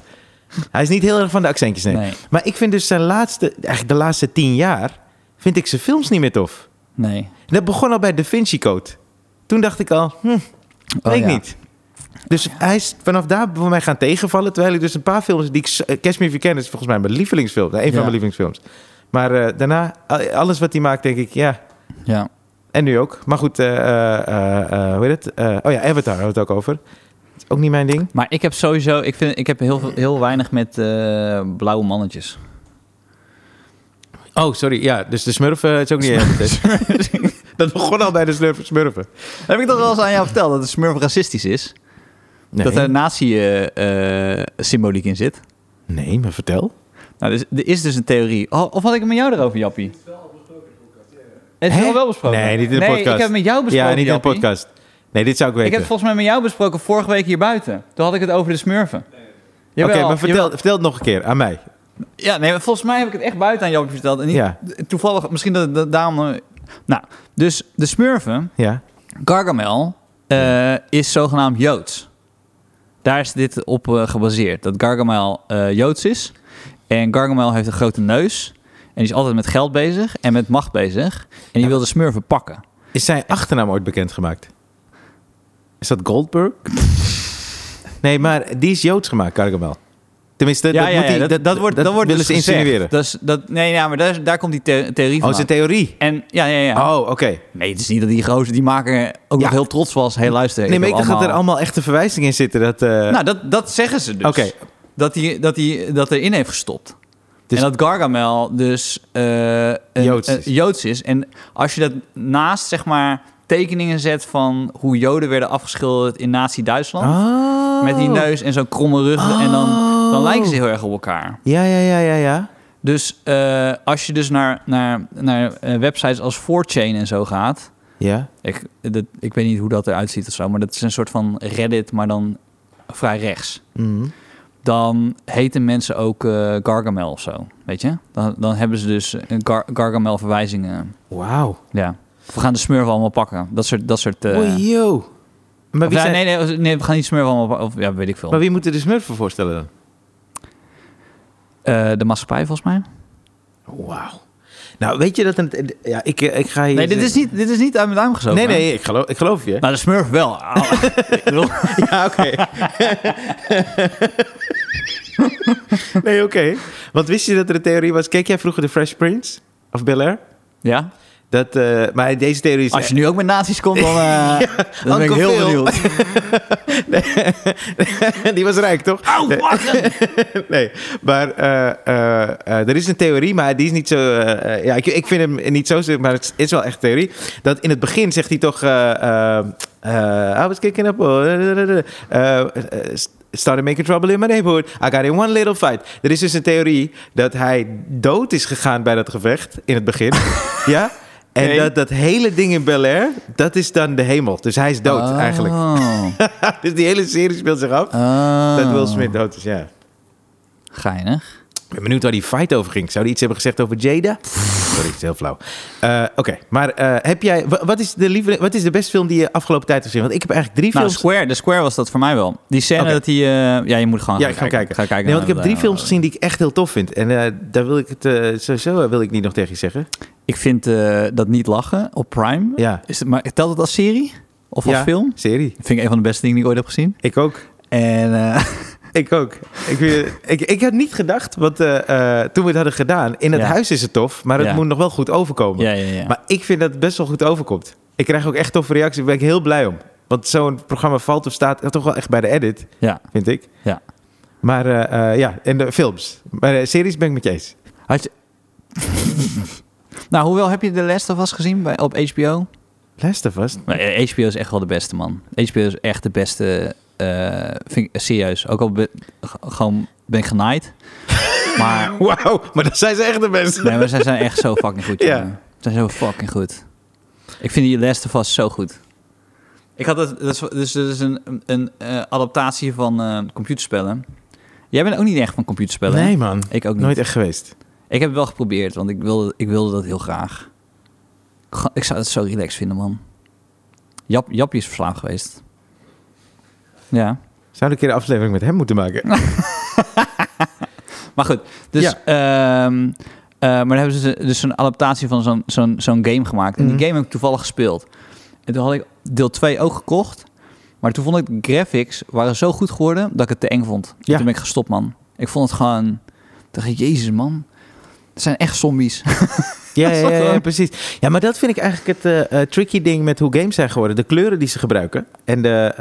S1: hij is niet heel erg van de accentjes, nee.
S2: Nee.
S1: Maar ik vind dus zijn laatste, eigenlijk de laatste tien jaar, vind ik zijn films niet meer tof.
S2: Nee.
S1: En Dat begon al bij Da Vinci Code. Toen dacht ik al, hm,
S2: Oh,
S1: weet ik
S2: ja.
S1: niet. Dus hij is vanaf daar voor mij gaan tegenvallen. Terwijl ik dus een paar films die ik... s- eh, Cashmere Weekend is volgens mij mijn lievelingsfilm. nou, Een van
S2: Ja.
S1: mijn lievelingsfilms. Maar eh, daarna, al- alles wat hij maakt, denk ik, ja.
S2: Ja.
S1: En nu ook. Maar goed, eh, eh, eh, eh, hoe heet het? Eh, oh ja, Avatar hadden we het ook over. Is ook niet mijn ding.
S2: Maar ik heb sowieso, ik, vind, ik heb heel, veel- heel weinig met eh, blauwe mannetjes.
S1: Oh, sorry. Ja, dus de smurfen is ook niet Dat begon al bij de smurfen. smurfen.
S2: Heb ik dat wel eens aan jou verteld, dat de smurf racistisch is?
S1: Nee.
S2: Dat er nazi-symboliek in zit?
S1: nee, maar vertel.
S2: Nou, dus, er is dus een theorie. Oh, of had ik het met jou erover, Jappie? Het is
S1: Hè?
S2: wel wel besproken.
S1: Nee, niet in de podcast.
S2: ik heb het met jou besproken,
S1: ja, niet in de
S2: Jappie.
S1: podcast. Nee, dit zou ik
S2: Ik
S1: weten.
S2: heb het volgens mij met jou besproken vorige week hier buiten. Toen had ik het over de smurfen.
S1: Oké,
S2: Jawel,
S1: maar vertel, vertel het nog een keer aan mij.
S2: Ja, nee, maar volgens mij heb ik het echt buiten aan Jappie verteld. En niet,
S1: Ja.
S2: toevallig, misschien dat, dat daarom... eh, Nou, dus de smurfen...
S1: Ja.
S2: Gargamel eh, is zogenaamd Joods. Daar is dit op eh, gebaseerd. Dat Gargamel eh, Joods is. En Gargamel heeft een grote neus. En die is altijd met geld bezig en met macht bezig. En die
S1: Ja.
S2: wil de smurfen pakken.
S1: Is zijn achternaam ooit bekendgemaakt? Is dat Goldberg? nee, maar die is Joods gemaakt, Gargamel. Tenminste, dat, moet hij- willen ze
S2: dus gezegd.
S1: insinueren.
S2: Dat is, dat, nee, ja, maar daar, is- daar komt die the- theorie
S1: oh,
S2: van.
S1: is een theorie?
S2: en ja, ja, ja.
S1: Oh, oké.
S2: Nee, het is niet dat die gozer, die maker, ook
S1: Ja.
S2: nog heel trots was. Heel luister.
S1: Nee, maar ik
S2: heb
S1: dacht dat er allemaal echte verwijzingen in zitten. Dat, eh,
S2: Nou, dat, dat zeggen ze dus.
S1: Oké.
S2: Dat hij dat, die- dat erin heeft gestopt.
S1: Dus-
S2: en dat Gargamel dus eh, een,
S1: Joods
S2: een
S1: is.
S2: Joods is. En als je dat naast, zeg maar, tekeningen zet van hoe Joden werden afgeschilderd in Nazi-Duitsland.
S1: Oh.
S2: Met die neus en zo'n kromme rug. En dan, dan lijken ze heel erg op elkaar.
S1: Ja, ja, ja, ja, ja.
S2: Dus eh, als je dus naar, naar, naar eh, websites als 4chan en zo gaat.
S1: Ja.
S2: Ik, dat, ik weet niet hoe dat eruit ziet of zo. Maar dat is een soort van Reddit, maar dan vrij rechts
S1: Mhm.
S2: dan heten mensen ook eh, Gargamel of zo. Weet je? Dan, dan hebben ze dus een Gar- Gargamel verwijzingen.
S1: Wauw.
S2: Ja. We gaan de smurf allemaal pakken. Dat soort... Dat soort eh,
S1: Oei, joh. Maar
S2: of
S1: wie,
S2: ja,
S1: zijn-
S2: nee, nee, nee, we gaan niet smurf allemaal pakken. Of, ja, weet ik veel.
S1: maar wie moeten de smurfen voorstellen dan?
S2: Eh, de maatschappij volgens mij.
S1: Wauw. Nou, weet je dat... Een, ja, ik, eh, ik ga hier...
S2: Nee, dit is niet, dit is niet uit mijn duim gezogen.
S1: Nee,
S2: hè?
S1: nee, ik geloof, ik geloof je.
S2: Nou, de smurf wel. Au. Ik bedoel,
S1: Ja, oké. nee, oké. Want wist je dat er een theorie was? Keek jij vroeger de Fresh Prince? Of Bel Air?
S2: ja?
S1: Dat, eh, maar deze theorie is...
S2: Als je nu ook met nazi's komt, dan, eh, dan ben ik
S1: Uncle
S2: heel
S1: Phil.
S2: benieuwd.
S1: Die was rijk, toch?
S2: Au, wacht!
S1: nee, maar eh, eh, eh, er is een theorie, maar die is niet zo... eh, eh, ja, ik, ik vind hem niet zo, sterk, maar het is wel echt een theorie. Dat in het begin zegt hij toch... eh eh, eh, I was kicking up... eh, eh, started making trouble in my neighborhood. I got in one little fight. Er is dus een theorie dat hij dood is gegaan bij dat gevecht in het begin. ja? En
S2: Oké.
S1: dat dat hele ding in Bel Air, dat is dan de hemel. Dus hij is dood eigenlijk.
S2: Oh.
S1: dus die hele serie speelt zich af.
S2: Oh.
S1: Dat Will Smith dood is, ja.
S2: Geinig.
S1: Ik Ah. ben benieuwd waar die fight over ging. Zou hij iets hebben gezegd over Jada? Sorry, het is heel flauw. Eh, Oké, maar eh, heb jij... wa- Wat is, de lieveling- wat is de beste film die je afgelopen tijd hebt gezien? Want ik heb eigenlijk drie
S2: Nou,
S1: films...
S2: Square, de Square was dat voor mij wel. Die scène
S1: Oké.
S2: dat hij... eh, ja, je moet gewoon
S1: ja,
S2: gaan
S1: ik ga kijken.
S2: Ga kijken
S1: nee, want ik
S2: naar
S1: heb drie
S2: de-
S1: films gezien die ik echt heel tof vind. En eh, daar wil ik het... eh, sowieso eh, wil ik niet nog tegen je zeggen.
S2: Ik vind eh, dat niet lachen op Prime.
S1: Ja.
S2: Is het, maar telt het als serie? Of als
S1: ja,
S2: film?
S1: serie.
S2: Dat vind ik een van de beste dingen die ik ooit heb gezien.
S1: Ik ook.
S2: En eh,
S1: Ik ook. Ik, weet- ik, ik had niet gedacht, want eh, eh, toen we het hadden gedaan... In het
S2: Ja.
S1: huis is het tof, maar het
S2: Ja.
S1: moet nog wel goed overkomen.
S2: ja, ja, ja.
S1: Maar ik vind dat het best wel goed overkomt. Ik krijg ook echt toffe reacties. Daar ben ik heel blij om. Want zo'n programma valt of staat toch wel echt bij de edit,
S2: ja.
S1: vind ik.
S2: Ja.
S1: Maar eh, eh, ja, en de films. Maar eh, series ben ik met je eens.
S2: Had je... nou, hoewel heb je The Last of Us gezien bij, op HBO?
S1: Last of Us?
S2: Maar, eh, HBO is echt wel de beste, man. HBO is echt de beste. eh, vind ik, serieus. Ook al be- g- gewoon ben ik genaaid. maar,
S1: Wauw, maar dat zijn ze echt de beste.
S2: nee, maar zij zijn echt zo fucking goed.
S1: Ja.
S2: jongen. Ze zijn zo fucking goed. Ik vind die Last of Us zo goed. Ik had het, dat is, dus, dus een, een, een eh, adaptatie van eh, computerspellen. Jij bent ook niet echt van computerspellen. hè?
S1: Nee, man.
S2: Ik ook niet.
S1: Nooit echt geweest.
S2: Ik heb het wel geprobeerd, want ik wilde, ik wilde dat heel graag. Ga- Ik zou het zo relaxed vinden, man. Jap, Jappie is verslaafd geweest. Ja.
S1: Zou ik een keer de aflevering met hem moeten maken?
S2: Maar goed, dus... ehm, eh, maar dan hebben ze dus zo'n adaptatie van zo'n zo'n zo'n game gemaakt. En
S1: Mhm.
S2: die game heb ik toevallig gespeeld. En toen had ik deel 2 ook gekocht. Maar toen vond ik de graphics waren zo goed geworden dat ik het te eng vond.
S1: Ja.
S2: Toen ben ik gestopt, man. Ik vond het gewoon... Toen dacht ik, jezus, man. Het zijn echt zombies.
S1: Ja,
S2: Dat is
S1: ja, ja,
S2: wel-
S1: ja, precies. Ja, maar dat vind ik eigenlijk het eh, eh, tricky ding met hoe games zijn geworden. De kleuren die ze gebruiken en de,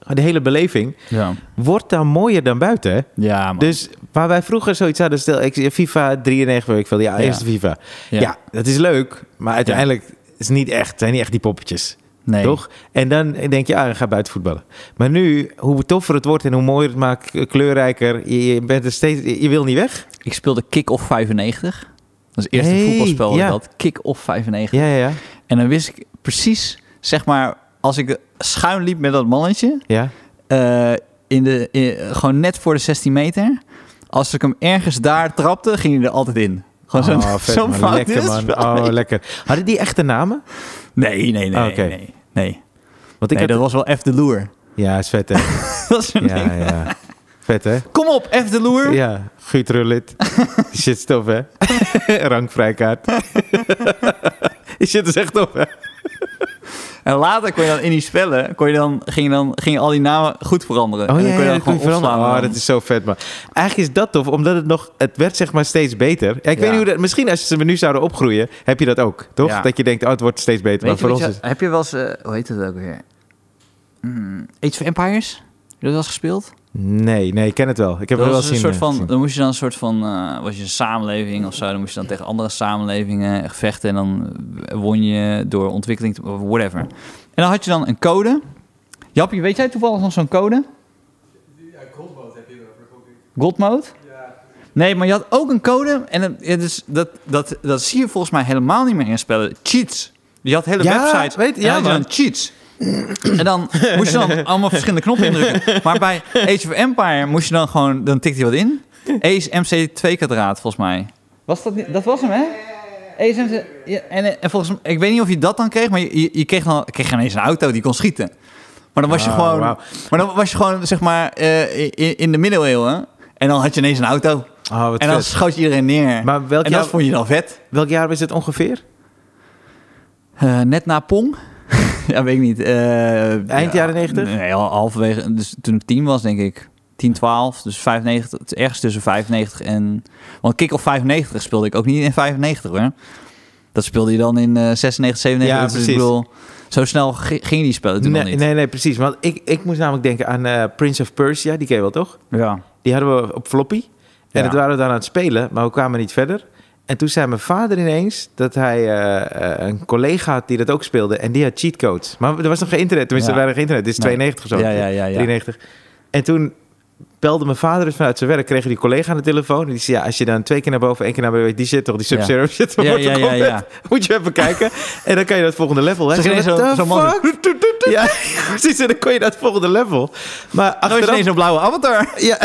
S1: eh, de hele beleving
S2: Ja,
S1: wordt dan mooier dan buiten. hè?
S2: ja man.
S1: Dus waar wij vroeger zoiets hadden, stel ik, FIFA 93, weet ik veel, ja,
S2: Ja.
S1: eerste FIFA. Ja. dat is leuk, maar uiteindelijk is het niet echt, zijn niet echt die poppetjes,
S2: nee.
S1: toch? En dan denk je, ah, ik ga buiten voetballen. Maar nu, hoe toffer het wordt en hoe mooier het maakt, eh, kleurrijker, je, je bent er steeds, je, je wil niet weg.
S2: Ik speelde Kick-Off 95. Dat is eerst een
S1: Hey,
S2: voetbalspel dat ik
S1: ja.
S2: had. Kick-Off 95.
S1: Ja, ja, ja.
S2: En dan wist ik precies, zeg maar, als ik schuin liep met dat mannetje...
S1: ja.
S2: eh, in de, in- gewoon net voor de 16 meter... als ik hem ergens daar trapte, ging hij er altijd in. Gewoon zo'n
S1: Oh, vet,
S2: zo'n
S1: man.
S2: fout
S1: Lekker,
S2: is.
S1: man. Oh, lekker. Hadden die echte namen?
S2: Nee, nee, nee.
S1: Ah, oké.
S2: Nee, nee.
S1: Want ik
S2: Nee, dat
S1: had...
S2: was wel F de Loer.
S1: Ja, is vet, hè?
S2: dat is een
S1: ja,
S2: ding.
S1: ja. Vet, hè?
S2: Kom op, F de Loer.
S1: Ja, Guut Rullit. Shit is tof, hè? Rangvrijkaart. Die Shit is echt tof, hè?
S2: En later kon je dan in die spellen, kon je dan, ging, je dan, ging je al die namen goed veranderen.
S1: Oh
S2: en
S1: ja,
S2: dan
S1: ja,
S2: kon je dan
S1: dat kon je
S2: gewoon
S1: veranderen.
S2: opslaan.
S1: Oh,
S2: dan-
S1: dat is zo vet, man. Eigenlijk is dat tof, omdat het nog... Het werd zeg maar steeds beter. Ja, ik
S2: Ja.
S1: weet niet hoe dat... Misschien als ze me nu zouden opgroeien, heb je dat ook, toch?
S2: Ja.
S1: Dat je denkt, oh, het wordt steeds beter.
S2: Weet
S1: Maar
S2: je
S1: voor
S2: wat
S1: ons
S2: je-
S1: is...
S2: Heb je wel eens, eh, hoe heet het ook weer? Hmm, Age of Empires? Heb je dat wel eens gespeeld?
S1: Nee, nee, ik ken het wel. Ik heb
S2: dat
S1: het wel
S2: was
S1: zien.
S2: een soort van,
S1: eh, gezien.
S2: dan moest je dan een soort van, eh, was je een samenleving of zo, dan moest je dan tegen andere samenlevingen vechten en dan won je door ontwikkeling, te- of whatever. En dan had je dan een code. Jappie, weet jij toevallig nog zo'n code? God mode? Nee, maar je had ook een code en het, het is, dat, dat, dat zie je volgens mij helemaal niet meer in spellen. Cheats. Je had hele
S1: Ja,
S2: websites
S1: weet-
S2: en
S1: ja,
S2: dan had je dan
S1: man.
S2: cheats. En dan moest je dan allemaal verschillende knoppen indrukken. Maar bij Age of Empire moest je dan gewoon... Dan tikte hij wat in. Ace MC2 kwadraat, volgens mij. Was dat niet... Dat was hem, hè? Ace MC... ja, en, eh, en volgens mij... Ik weet niet of je dat dan kreeg, maar je, je, je kreeg dan kreeg ineens een auto die kon schieten. Maar dan was je
S1: Ah,
S2: gewoon...
S1: wauw.
S2: Maar dan was je gewoon, zeg maar, eh, in, in de middeleeuwen. En dan had je ineens een auto.
S1: Oh, wat
S2: en dan
S1: vet.
S2: schoot je iedereen neer.
S1: Maar welk
S2: en dat
S1: jaar-
S2: vond je dan vet.
S1: Welk jaar was het ongeveer?
S2: Eh, net na Pong? ja, weet ik niet. Eh,
S1: Eind
S2: ja,
S1: jaren 90?
S2: Nee, al- halverwege. Dus toen ik 10 was, denk ik. 10, 12, dus 95. Het is ergens tussen 95 en... Want kick-off 95 speelde ik ook niet in 95, hoor. Dat speelde je dan in eh 96, 97.
S1: Ja,
S2: Dus ik
S1: precies.
S2: bedoel, zo snel gi- gingen die spellen toen nog
S1: Nee,
S2: niet.
S1: nee, nee, precies. Want ik, ik moest namelijk denken aan eh, Prince of Persia. Die ken je wel, toch?
S2: Ja.
S1: Die hadden we op floppy. En
S2: Ja.
S1: dat waren we dan aan het spelen, maar we kwamen niet verder. En toen zei mijn vader ineens dat hij eh, eh, een collega had die dat ook speelde. En die had cheatcodes. Maar er was nog geen internet. Tenminste,
S2: Ja.
S1: er waren geen internet. Dit is
S2: Nee.
S1: 92 of zo.
S2: Ja, ja, ja, ja.
S1: 93. En toen belde mijn vader dus vanuit zijn werk. Kreeg die collega aan de telefoon. En die zei, ja, als je dan twee keer naar boven, één keer naar beneden... Die zit toch, die Sub-Zero zit toch
S2: Ja,
S1: Mortal
S2: ja, ja,
S1: Kombat?
S2: ja.
S1: Moet je even kijken. En dan kan je dat volgende level. Hè?
S2: Zeg ineens
S1: What
S2: zo-
S1: the
S2: zo'n man zo-
S1: fuck? Ja, precies. En dan kon je dat volgende level. Maar
S2: Oh, is
S1: achteraf...
S2: ineens een blauwe avatar.
S1: Ja,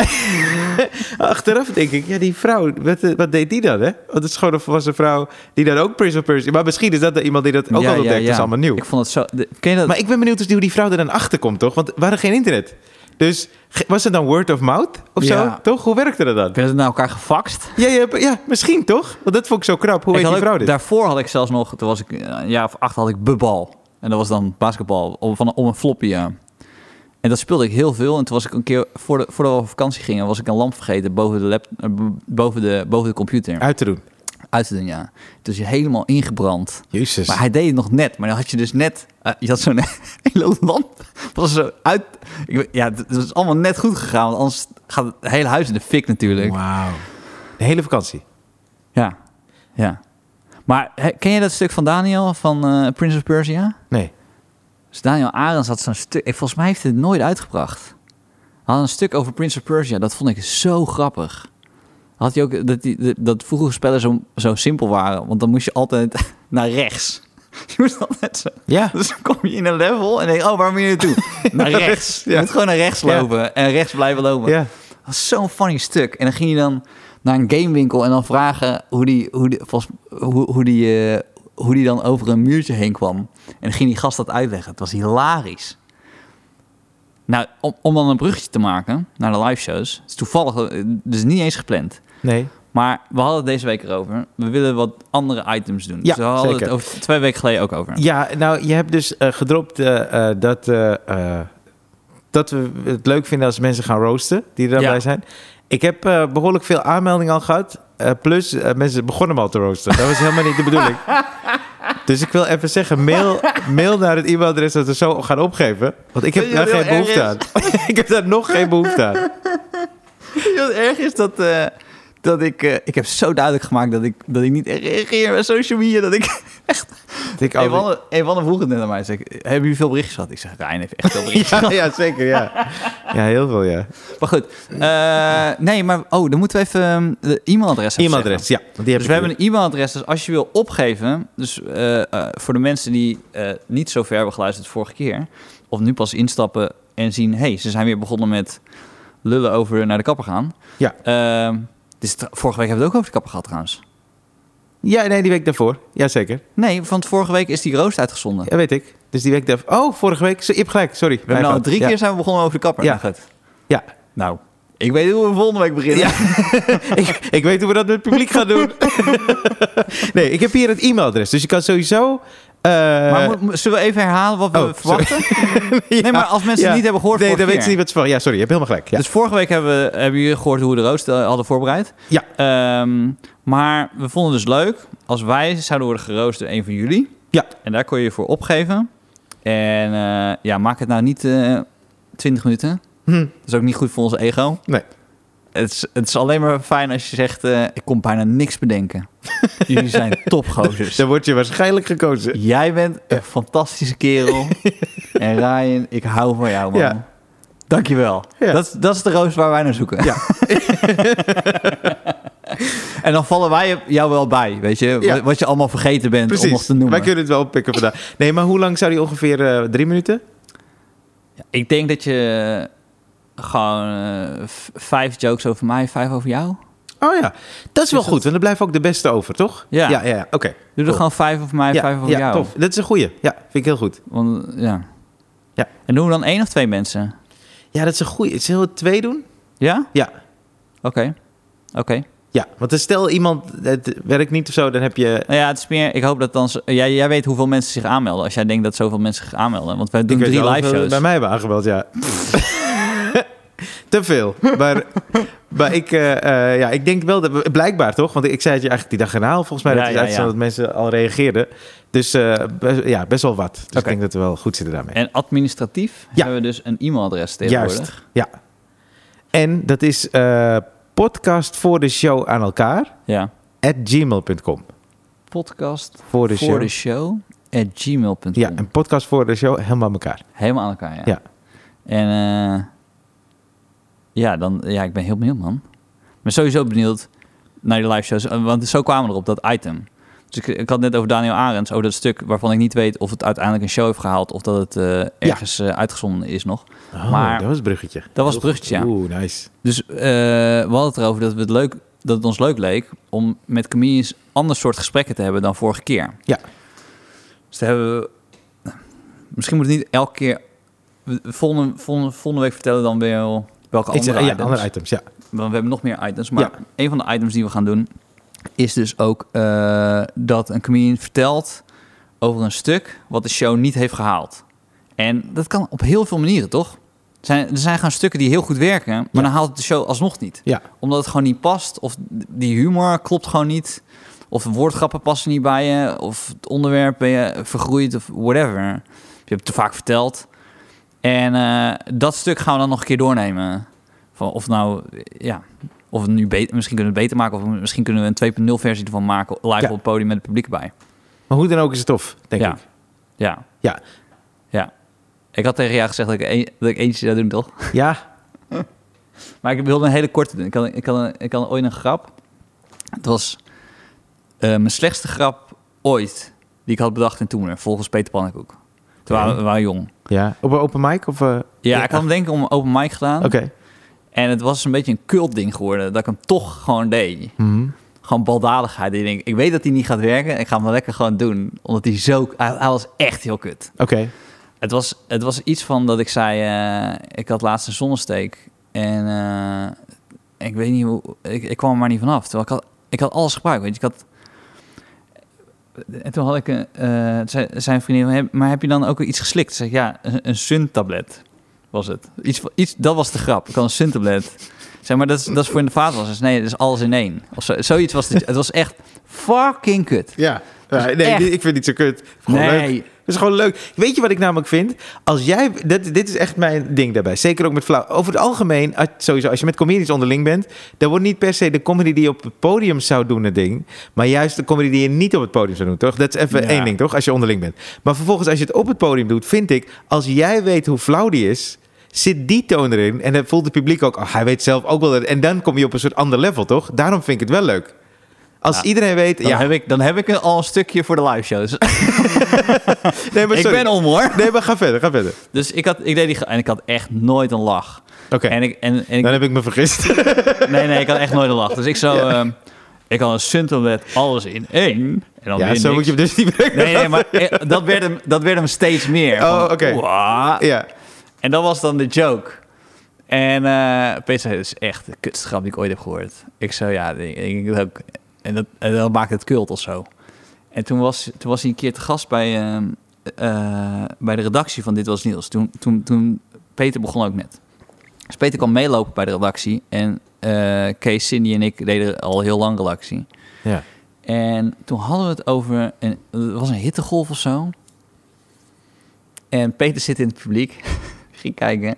S1: achteraf denk ik, ja, die vrouw, wat, eh, wat deed die dan, hè? Want het is gewoon een volwassen vrouw die dan ook Prince of Persia... Maar misschien is dat dan iemand die dat ook
S2: Ja,
S1: al ontdekt,
S2: ja,
S1: dat is
S2: ja.
S1: allemaal nieuw.
S2: Ik vond het zo... de- Ken je dat?
S1: Maar ik ben benieuwd dus hoe die vrouw er dan achter komt, toch? Want er waren geen internet. Dus ge- was het dan word of mouth of
S2: Ja.
S1: zo, toch? Hoe werkte dat dan?
S2: Werden we naar elkaar gefaxt?
S1: Ja, ja, ja, misschien toch? Want dat vond ik zo krap. Hoe
S2: Ik
S1: heet die
S2: had ook-
S1: vrouw dit?
S2: Daarvoor had ik zelfs nog, toen was ik eh, een jaar of acht, had ik bubbal. En dat was dan basketbal om, van, om een floppy. ja. En dat speelde ik heel veel. En toen was ik een keer, voor de, voordat we op vakantie gingen, was ik een lamp vergeten boven de, lap, eh, b- boven de, boven de computer.
S1: Uit te doen.
S2: Uit te doen, ja. Dus je helemaal ingebrand.
S1: Jezus.
S2: Maar hij deed het nog net. Maar dan had je dus net... eh, je had zo'n hele lamp. Dat was zo uit... Ik, weet- ja, het is allemaal net goed gegaan. Want anders gaat het hele huis in de fik natuurlijk.
S1: Wauw. De hele vakantie.
S2: Ja, ja. Maar he- ken je dat stuk van Daniel van eh, Prince of Persia?
S1: Nee.
S2: Dus Daniel Arends had zo'n stuk. eh, Volgens mij heeft hij het nooit uitgebracht. Hij had een stuk over Prince of Persia. Dat vond ik zo grappig. Had hij ook dat, die, dat- dat vroeger spellen zo, zo simpel waren. Want dan moest je altijd naar rechts. Je moest altijd zo.
S1: Ja.
S2: Dus dan kom je in een level en denk je, oh, waar moet je naartoe? naar rechts. Je
S1: Ja.
S2: moet gewoon naar rechts
S1: Ja.
S2: lopen en rechts blijven lopen.
S1: Ja.
S2: Dat was zo'n funny stuk. En dan ging je dan naar een gamewinkel en dan vragen hoe die, hoe die, volgens, hoe, hoe die, eh, hoe die dan over een muurtje heen kwam. En dan ging die gast dat uitleggen. Het was hilarisch. Nou, om, om dan een bruggetje te maken naar de live shows. Het is toevallig, eh, dus niet eens gepland.
S1: Nee.
S2: Maar we hadden het deze week erover. We willen wat andere items doen.
S1: Ja,
S2: dus we hadden
S1: zeker.
S2: het over twee weken geleden ook over.
S1: Ja, nou, je hebt dus eh, gedropt eh, eh, dat, eh, eh, dat we het leuk vinden als mensen gaan roosten die er dan
S2: Ja.
S1: bij zijn. Ik heb eh, behoorlijk veel aanmeldingen al gehad. Eh, plus, eh, mensen begonnen me al te roosten. Dat was helemaal niet de bedoeling. Dus ik wil even zeggen, mail, mail naar het e-mailadres dat we zo gaan opgeven. Want ik heb
S2: Weet je
S1: daar
S2: wat
S1: geen
S2: heel
S1: behoefte aan.
S2: erg
S1: ik heb daar nog geen behoefte aan.
S2: Weet je Wat erg is dat, eh, dat ik... eh, ik heb zo duidelijk gemaakt dat ik, dat ik niet reageer bij social media. Dat ik echt...
S1: Dat ik al-
S2: Evan Evan vroeg het net aan mij. Zeg, hebben jullie veel berichtjes gehad? Ik zeg, Rijn heeft echt veel berichtjes
S1: ja,
S2: gehad.
S1: ja, zeker, ja. Ja, heel veel, ja.
S2: Maar goed. eh, nee, maar... Oh, dan moeten we even ehm, de e-mailadres even zeggen.
S1: E-mailadres, ja. want Die heb
S2: Dus
S1: ik
S2: we
S1: hier.
S2: hebben een e-mailadres. Dus als je wil opgeven... Dus eh, eh, voor de mensen die eh, niet zo ver hebben geluisterd vorige keer... Of nu pas instappen en zien... hey, ze zijn weer begonnen met lullen over naar de kapper gaan.
S1: Ja.
S2: Ehm, dus tra- vorige week hebben we het ook over de kapper gehad trouwens.
S1: Ja, nee, die week daarvoor. Jazeker.
S2: Nee, want vorige week is die roost uitgezonden.
S1: Ja, weet ik. Dus die week daarvoor. Oh, vorige week. Zo, Je hebt gelijk, sorry.
S2: We hebben
S1: Mijn
S2: nou
S1: fout.
S2: drie
S1: Ja.
S2: keer zijn we begonnen over de kapper.
S1: Ja.
S2: Nou, goed.
S1: Ja.
S2: Nou, ik weet hoe we volgende week beginnen.
S1: ik, ik weet hoe we dat met het publiek gaan doen. nee, ik heb hier het e-mailadres. Dus je kan sowieso... eh,
S2: maar mo- mo- zullen we even herhalen wat we
S1: oh, sorry.
S2: verwachten? Nee, maar als mensen
S1: ja.
S2: het niet hebben gehoord
S1: nee,
S2: vorige
S1: dan weten
S2: keer.
S1: ze niet wat ze van... Ja, sorry, je hebt helemaal gelijk. Ja,
S2: Dus vorige week hebben, we, hebben jullie gehoord hoe we de roost eh, hadden voorbereid.
S1: Ja.
S2: Ehm, maar we vonden het dus leuk als wij zouden worden geroost door een van jullie.
S1: Ja.
S2: En daar kon je je voor opgeven. En eh, ja, maak het nou niet eh 20 minuten.
S1: Hm,
S2: Dat is ook niet goed voor ons ego.
S1: Nee.
S2: Het is, het is alleen maar fijn als je zegt, eh, ik kon bijna niks bedenken. Jullie zijn topgozers.
S1: dan word je waarschijnlijk gekozen.
S2: Jij bent een fantastische kerel. en Ryan, ik hou van jou, man.
S1: Ja.
S2: Dankjewel.
S1: Ja.
S2: Dat, is- dat is de roos waar wij naar zoeken.
S1: Ja.
S2: en dan vallen wij jou wel bij, weet je?
S1: Ja.
S2: Wat, wat je allemaal vergeten bent om ons
S1: Precies.
S2: te noemen.
S1: Wij kunnen het wel oppikken vandaag. Nee, maar hoe lang zou die ongeveer... eh, drie minuten?
S2: Ik denk dat je gewoon eh, v- vijf jokes over mij, vijf over jou.
S1: Oh ja, dat is wel
S2: dat-
S1: goed. Want er blijven ook de beste over, toch?
S2: Ja.
S1: Ja, ja, ja, oké.
S2: Doe er
S1: Cool.
S2: gewoon vijf over mij,
S1: Oh. ja,
S2: vijf over
S1: ja,
S2: jou.
S1: tof. Dat is een goeie. Ja, vind ik heel goed.
S2: Want, ja.
S1: Ja.
S2: En doen we dan één of twee mensen?
S1: Ja, dat is een goeie. Zullen we het twee doen?
S2: Ja?
S1: Ja.
S2: Oké. Oké.
S1: Ja, want stel iemand, het werkt niet of zo, dan heb je...
S2: Nou ja, het is meer... Ik hoop dat dan... z- Jij, jij weet hoeveel mensen zich aanmelden. Als jij denkt dat zoveel mensen zich aanmelden. Want wij doen
S1: Ik weet
S2: drie
S1: wel
S2: live
S1: hoeveel
S2: shows.
S1: Bij mij hebben aangebeld, ja. Te veel. Maar, maar ik, eh, eh, ja, ik denk wel dat... we- Blijkbaar toch? Want ik zei het je eigenlijk die dag erna al, volgens mij.
S2: Ja,
S1: dat het
S2: ja,
S1: uitzag
S2: ja.
S1: dat mensen al reageerden. Dus eh, best, ja, best wel wat. Dus ik
S2: Oké.
S1: denk dat we wel goed zitten daarmee.
S2: En administratief
S1: Ja.
S2: hebben we dus een e-mailadres tegenwoordig.
S1: Juist, ja. En dat is eh, podcast voor de show aan elkaar.
S2: Ja.
S1: At gmail.com.
S2: Podcast
S1: Voor de
S2: voor
S1: show.
S2: de show at gmail.com.
S1: Ja, en podcast voor de show helemaal aan elkaar.
S2: Helemaal aan elkaar, ja.
S1: Ja.
S2: En eh, ja, dan, ja, ik ben heel benieuwd, man. Ik ben sowieso benieuwd naar die live shows. eh, Want zo kwamen we erop, dat item. Dus ik, ik had net over Daniel Arends, over dat stuk waarvan ik niet weet of het uiteindelijk een show heeft gehaald of dat het eh, ergens eh, uitgezonden is nog.
S1: Oh,
S2: Maar-
S1: dat was het bruggetje.
S2: Dat was het bruggetje, ja.
S1: Oeh, nice.
S2: Dus eh, we hadden het erover dat, we het leuk, dat het ons leuk leek om met comedians ander soort gesprekken te hebben dan vorige keer.
S1: Ja.
S2: Dus daar hebben we... Misschien moet het niet elke keer... we- Volgende, volgende, volgende week vertellen we dan weer wel welke
S1: Iets,
S2: andere
S1: ja,
S2: items.
S1: andere items, ja.
S2: Want we hebben nog meer items. Maar
S1: Ja.
S2: een van de items die we gaan doen is dus ook eh, dat een comedian vertelt over een stuk wat de show niet heeft gehaald. En dat kan op heel veel manieren, toch? Er Zijn, er zijn gewoon stukken die heel goed werken, maar
S1: Ja.
S2: dan haalt het de show alsnog niet.
S1: Ja.
S2: Omdat het gewoon niet past, of die humor klopt gewoon niet, of de woordgrappen passen niet bij je, of het onderwerp ben je vergroeid, of whatever. Je hebt het te vaak verteld. En eh, dat stuk gaan we dan nog een keer doornemen. Van of nou, ja, of het nu beter, misschien kunnen we het beter maken, of misschien kunnen we een 2.0 versie ervan maken, live
S1: Ja.
S2: op het podium met het publiek bij.
S1: Maar hoe dan ook is het tof, denk
S2: ja.
S1: ik.
S2: Ja.
S1: Ja.
S2: Ja. Ik had tegen jou gezegd dat ik, een- dat ik eentje zou doen, toch?
S1: Ja,
S2: Maar ik wilde een hele korte doen. Ik had, ik had, een- ik had ooit een grap. Het was eh, mijn slechtste grap ooit. die ik had bedacht en toen er, volgens Peter Pannenkoek. Toen
S1: Oké.
S2: waren we waren jong.
S1: Ja. Op een open mic? Of, eh,
S2: Ja,
S1: Ja.
S2: ik had hem denk ik om een open mic gedaan.
S1: Oké.
S2: En het was een beetje een cult ding geworden, dat ik hem toch gewoon deed.
S1: Mhm.
S2: Gewoon baldadigheid. Ik denk, ik weet dat hij niet gaat werken, ik ga hem wel lekker gewoon doen. Omdat hij zo... Hij, hij was echt heel kut.
S1: Oké.
S2: Het was, het was iets van dat ik zei, eh, ik had laatst een zonnesteek en eh, ik weet niet hoe, ik, ik kwam er maar niet vanaf. Terwijl ik had, ik had alles gebruikt, weet je, ik had... En toen had ik, een, eh, zei- zijn vriendin, "Heb- maar heb je dan ook iets geslikt? Zeg ik, ja, een, een suntablet was het. Iets, van- iets, dat was de grap, ik had een suntablet. Zeg maar, dat is, dat is voor in de vaatwas. Dus nee, dat is alles in één. Of zo, zoiets was het. Het was echt fucking kut.
S1: Ja.
S2: Dus
S1: nee,
S2: echt.
S1: die- ik vind het niet zo kut. Gewoon leuk.
S2: Nee,
S1: Het is gewoon leuk. Weet je wat ik namelijk vind? Als jij, dit, dit is echt mijn ding daarbij. Zeker ook met flauw. Over het algemeen, als- sowieso, als je met comedies onderling bent, dan wordt niet per se de comedy die je op het podium zou doen een ding. Maar juist de comedy die je niet op het podium zou doen, toch? Dat is even
S2: Ja.
S1: één ding, toch? Als je onderling bent. Maar vervolgens, als je het op het podium doet, vind ik, als jij weet hoe flauw die is. Zit die toon erin en dan voelt het publiek ook, oh, hij weet zelf ook wel. dat- En dan kom je op een soort ander level, toch? Daarom vind ik het wel leuk. Als
S2: Ja.
S1: iedereen weet,
S2: dan,
S1: ja,
S2: Heb ik, dan heb ik al een stukje voor de live shows.
S1: nee, maar
S2: ik
S1: sorry.
S2: ben om hoor.
S1: Nee, maar ga verder, ga verder.
S2: Dus ik had, ik deed die ge- en ik had echt nooit een lach.
S1: Oké.
S2: En ik, en, en ik-
S1: Dan heb ik me vergist.
S2: nee, nee, ik had echt nooit een lach. Dus ik zo, ehm, ik had een Suntel met alles in één. En dan
S1: ja,
S2: weer
S1: zo
S2: niks.
S1: moet je hem dus niet brengen.
S2: Nee, nee, maar eh, dat werd hem, dat werd hem steeds meer.
S1: Oh,
S2: Van,
S1: oké.
S2: "Wa."
S1: Ja,
S2: En dat was dan de joke. En eh Peter zei, dat is echt de kutste grap die ik ooit heb gehoord. Ik zo, ja, ik, ik, dat ook. En dat, en dat maakt het kult of zo. En toen was, toen was hij een keer te gast bij, ehm, eh, bij de redactie van Dit Was Niels. Toen, toen, toen Peter begon ook net. Dus Peter kwam meelopen bij de redactie. En eh, Kees, Cindy en ik deden al heel lang redactie.
S1: ja.
S2: En toen hadden we het over. Een, het was een hittegolf of zo. En Peter zit in het publiek. Ging kijken.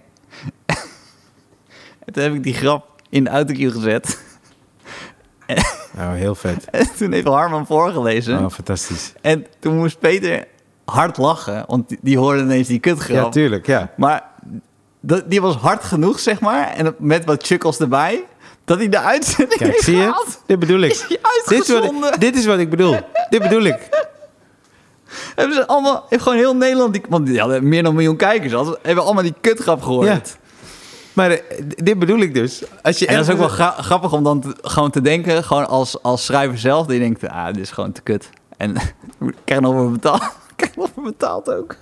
S2: en toen heb ik die grap in de autocue gezet.
S1: Nou, heel vet.
S2: En toen heeft Harman voorgelezen.
S1: Oh, fantastisch.
S2: En toen moest Peter hard lachen. Want die, die hoorde ineens die
S1: Ja,
S2: kutgrap.
S1: tuurlijk, ja.
S2: maar dat, die was hard genoeg, zeg maar. En met wat chuckles erbij. Dat hij de uitzending
S1: Kijk,
S2: heeft
S1: zie je?
S2: gehaald.
S1: Dit bedoel
S2: Is
S1: ik.
S2: hij
S1: Dit is,
S2: uitgezonden?
S1: wat ik, dit is wat ik bedoel. Dit bedoel ik.
S2: Hebben ze allemaal, heeft gewoon heel Nederland, die, want die hadden meer dan een miljoen kijkers, hadden, hebben allemaal die kutgrap gehoord.
S1: Ja. Maar eh, dit bedoel ik dus. Als je
S2: En dat is ook wel
S1: ergens-
S2: gra- grappig om dan te- gewoon te denken, gewoon als, als schrijver zelf, die denkt, ah, dit is gewoon te kut. En ik krijg nog voor betaald. Ik krijg nog voor betaald ook.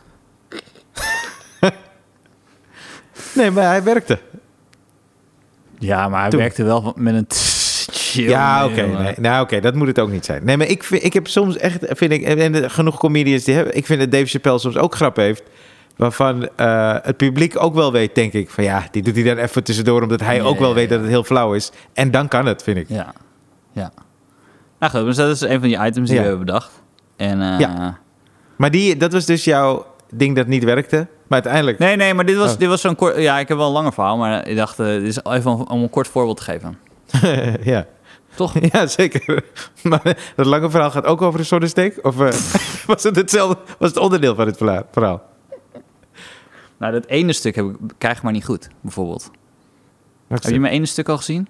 S1: Nee, maar hij werkte.
S2: Ja, maar hij
S1: Toen.
S2: werkte wel met een tss, chill.
S1: ja, oké.
S2: jongen.
S1: nee. Nou, oké, dat moet het ook niet zijn. Nee, maar ik, vind, ik heb soms echt, vind ik, en en genoeg comedians die hebben, ik vind dat Dave Chappelle soms ook grap heeft, waarvan eh, het publiek ook wel weet, denk ik, van ja, die doet hij dan even tussendoor, omdat hij
S2: Ja,
S1: ook wel
S2: ja,
S1: weet
S2: ja.
S1: dat het heel flauw is. En dan kan het, vind ik.
S2: Ja. Ja. Nou goed, dus dat is een van die items die
S1: Ja.
S2: we hebben bedacht. En, eh,
S1: Ja. Maar die, dat was dus jouw ding dat niet werkte, maar uiteindelijk...
S2: Nee, nee, maar dit was,
S1: Oh.
S2: dit was zo'n kort... Ja, ik heb wel een langer verhaal, maar ik dacht, eh, dit is even om, om een kort voorbeeld te geven.
S1: ja.
S2: Toch?
S1: ja, zeker. Maar eh, dat lange verhaal gaat ook over de zonnesteek? Of eh, was het hetzelfde, was het onderdeel van het verla- verhaal?
S2: Nou, dat ene stuk heb ik, krijg ik maar niet goed, bijvoorbeeld. Heb je mijn ene stuk al gezien?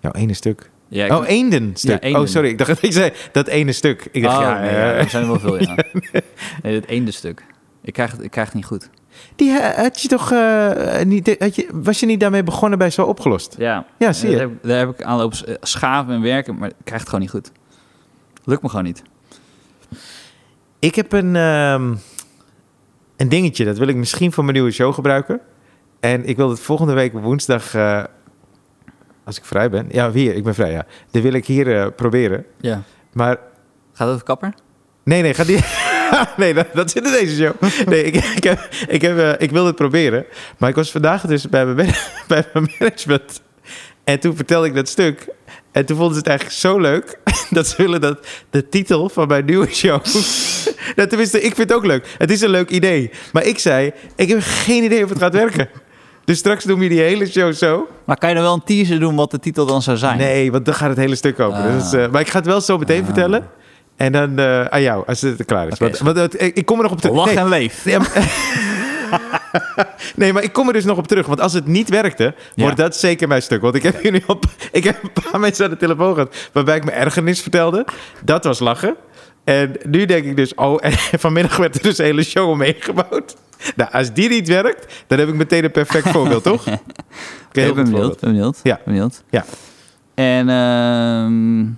S1: Jouw ene stuk.
S2: Ja, ik-
S1: oh, eenden stuk.
S2: Ja, eenden.
S1: Oh, sorry. Ik dacht dat ik zei dat ene stuk. Ik dacht,
S2: Oh,
S1: ja,
S2: nee,
S1: eh,
S2: ja, er zijn er wel veel, ja. Nee, dat ene stuk. Ik krijg, het, ik krijg het niet goed.
S1: Die ha- had je toch eh, niet... Had je, was je niet daarmee begonnen bij Zo Opgelost?
S2: Ja,
S1: Ja, Ah, zie
S2: daar
S1: je.
S2: Heb, ik- daar heb ik aan lopen s- eh, schaven en werken, maar ik krijg het gewoon niet goed. Lukt me gewoon niet.
S1: Ik heb een, ehm, een dingetje. Dat wil ik misschien voor mijn nieuwe show gebruiken. En ik wil het volgende week woensdag... eh, als ik vrij ben. Ja, hier. Ik ben vrij, ja. Dat wil ik hier eh, proberen.
S2: Ja.
S1: Maar
S2: Gaat het over kapper?
S1: Nee, nee, ga die. nee, dat, dat zit in deze show. Nee, ik, ik, heb, ik, heb, eh, ik wil het proberen. Maar ik was vandaag dus bij mijn, man- bij mijn management. En toen vertelde ik dat stuk. En toen vonden ze het eigenlijk zo leuk. dat ze willen dat de titel van mijn nieuwe show. dat tenminste, ik vind het ook leuk. Het is een leuk idee. Maar ik zei: ik heb geen idee of het gaat werken. Dus straks doen we die hele show zo.
S2: Maar kan je dan wel een teaser doen wat de titel dan zou zijn?
S1: Nee, want dan gaat het hele stuk over.
S2: Ah.
S1: Dus, eh, maar ik ga het wel zo meteen
S2: Ah.
S1: vertellen. En dan eh, aan jou, als het klaar is.
S2: Oké,
S1: Want-
S2: is
S1: want, het- ik ik kom er nog op terug.
S2: Lach
S1: Nee,
S2: en leef.
S1: nee, maar- nee, maar ik kom er dus nog op terug. Want als het niet werkte,
S2: Ja.
S1: wordt dat zeker mijn stuk. Want ik heb hier nu op, ik heb een paar mensen aan de telefoon gehad waarbij ik mijn ergernis vertelde. Dat was lachen. En nu denk ik dus, oh, en vanmiddag werd er dus een hele show omheen gebouwd. Nou, als die niet werkt, dan heb ik meteen een perfect voorbeeld, toch? Oké,
S2: Ik
S1: heel
S2: ben
S1: goed
S2: benieuwd,
S1: voorbeeld.
S2: ben benieuwd.
S1: Ja.
S2: ben benieuwd.
S1: Ja.
S2: En ehm,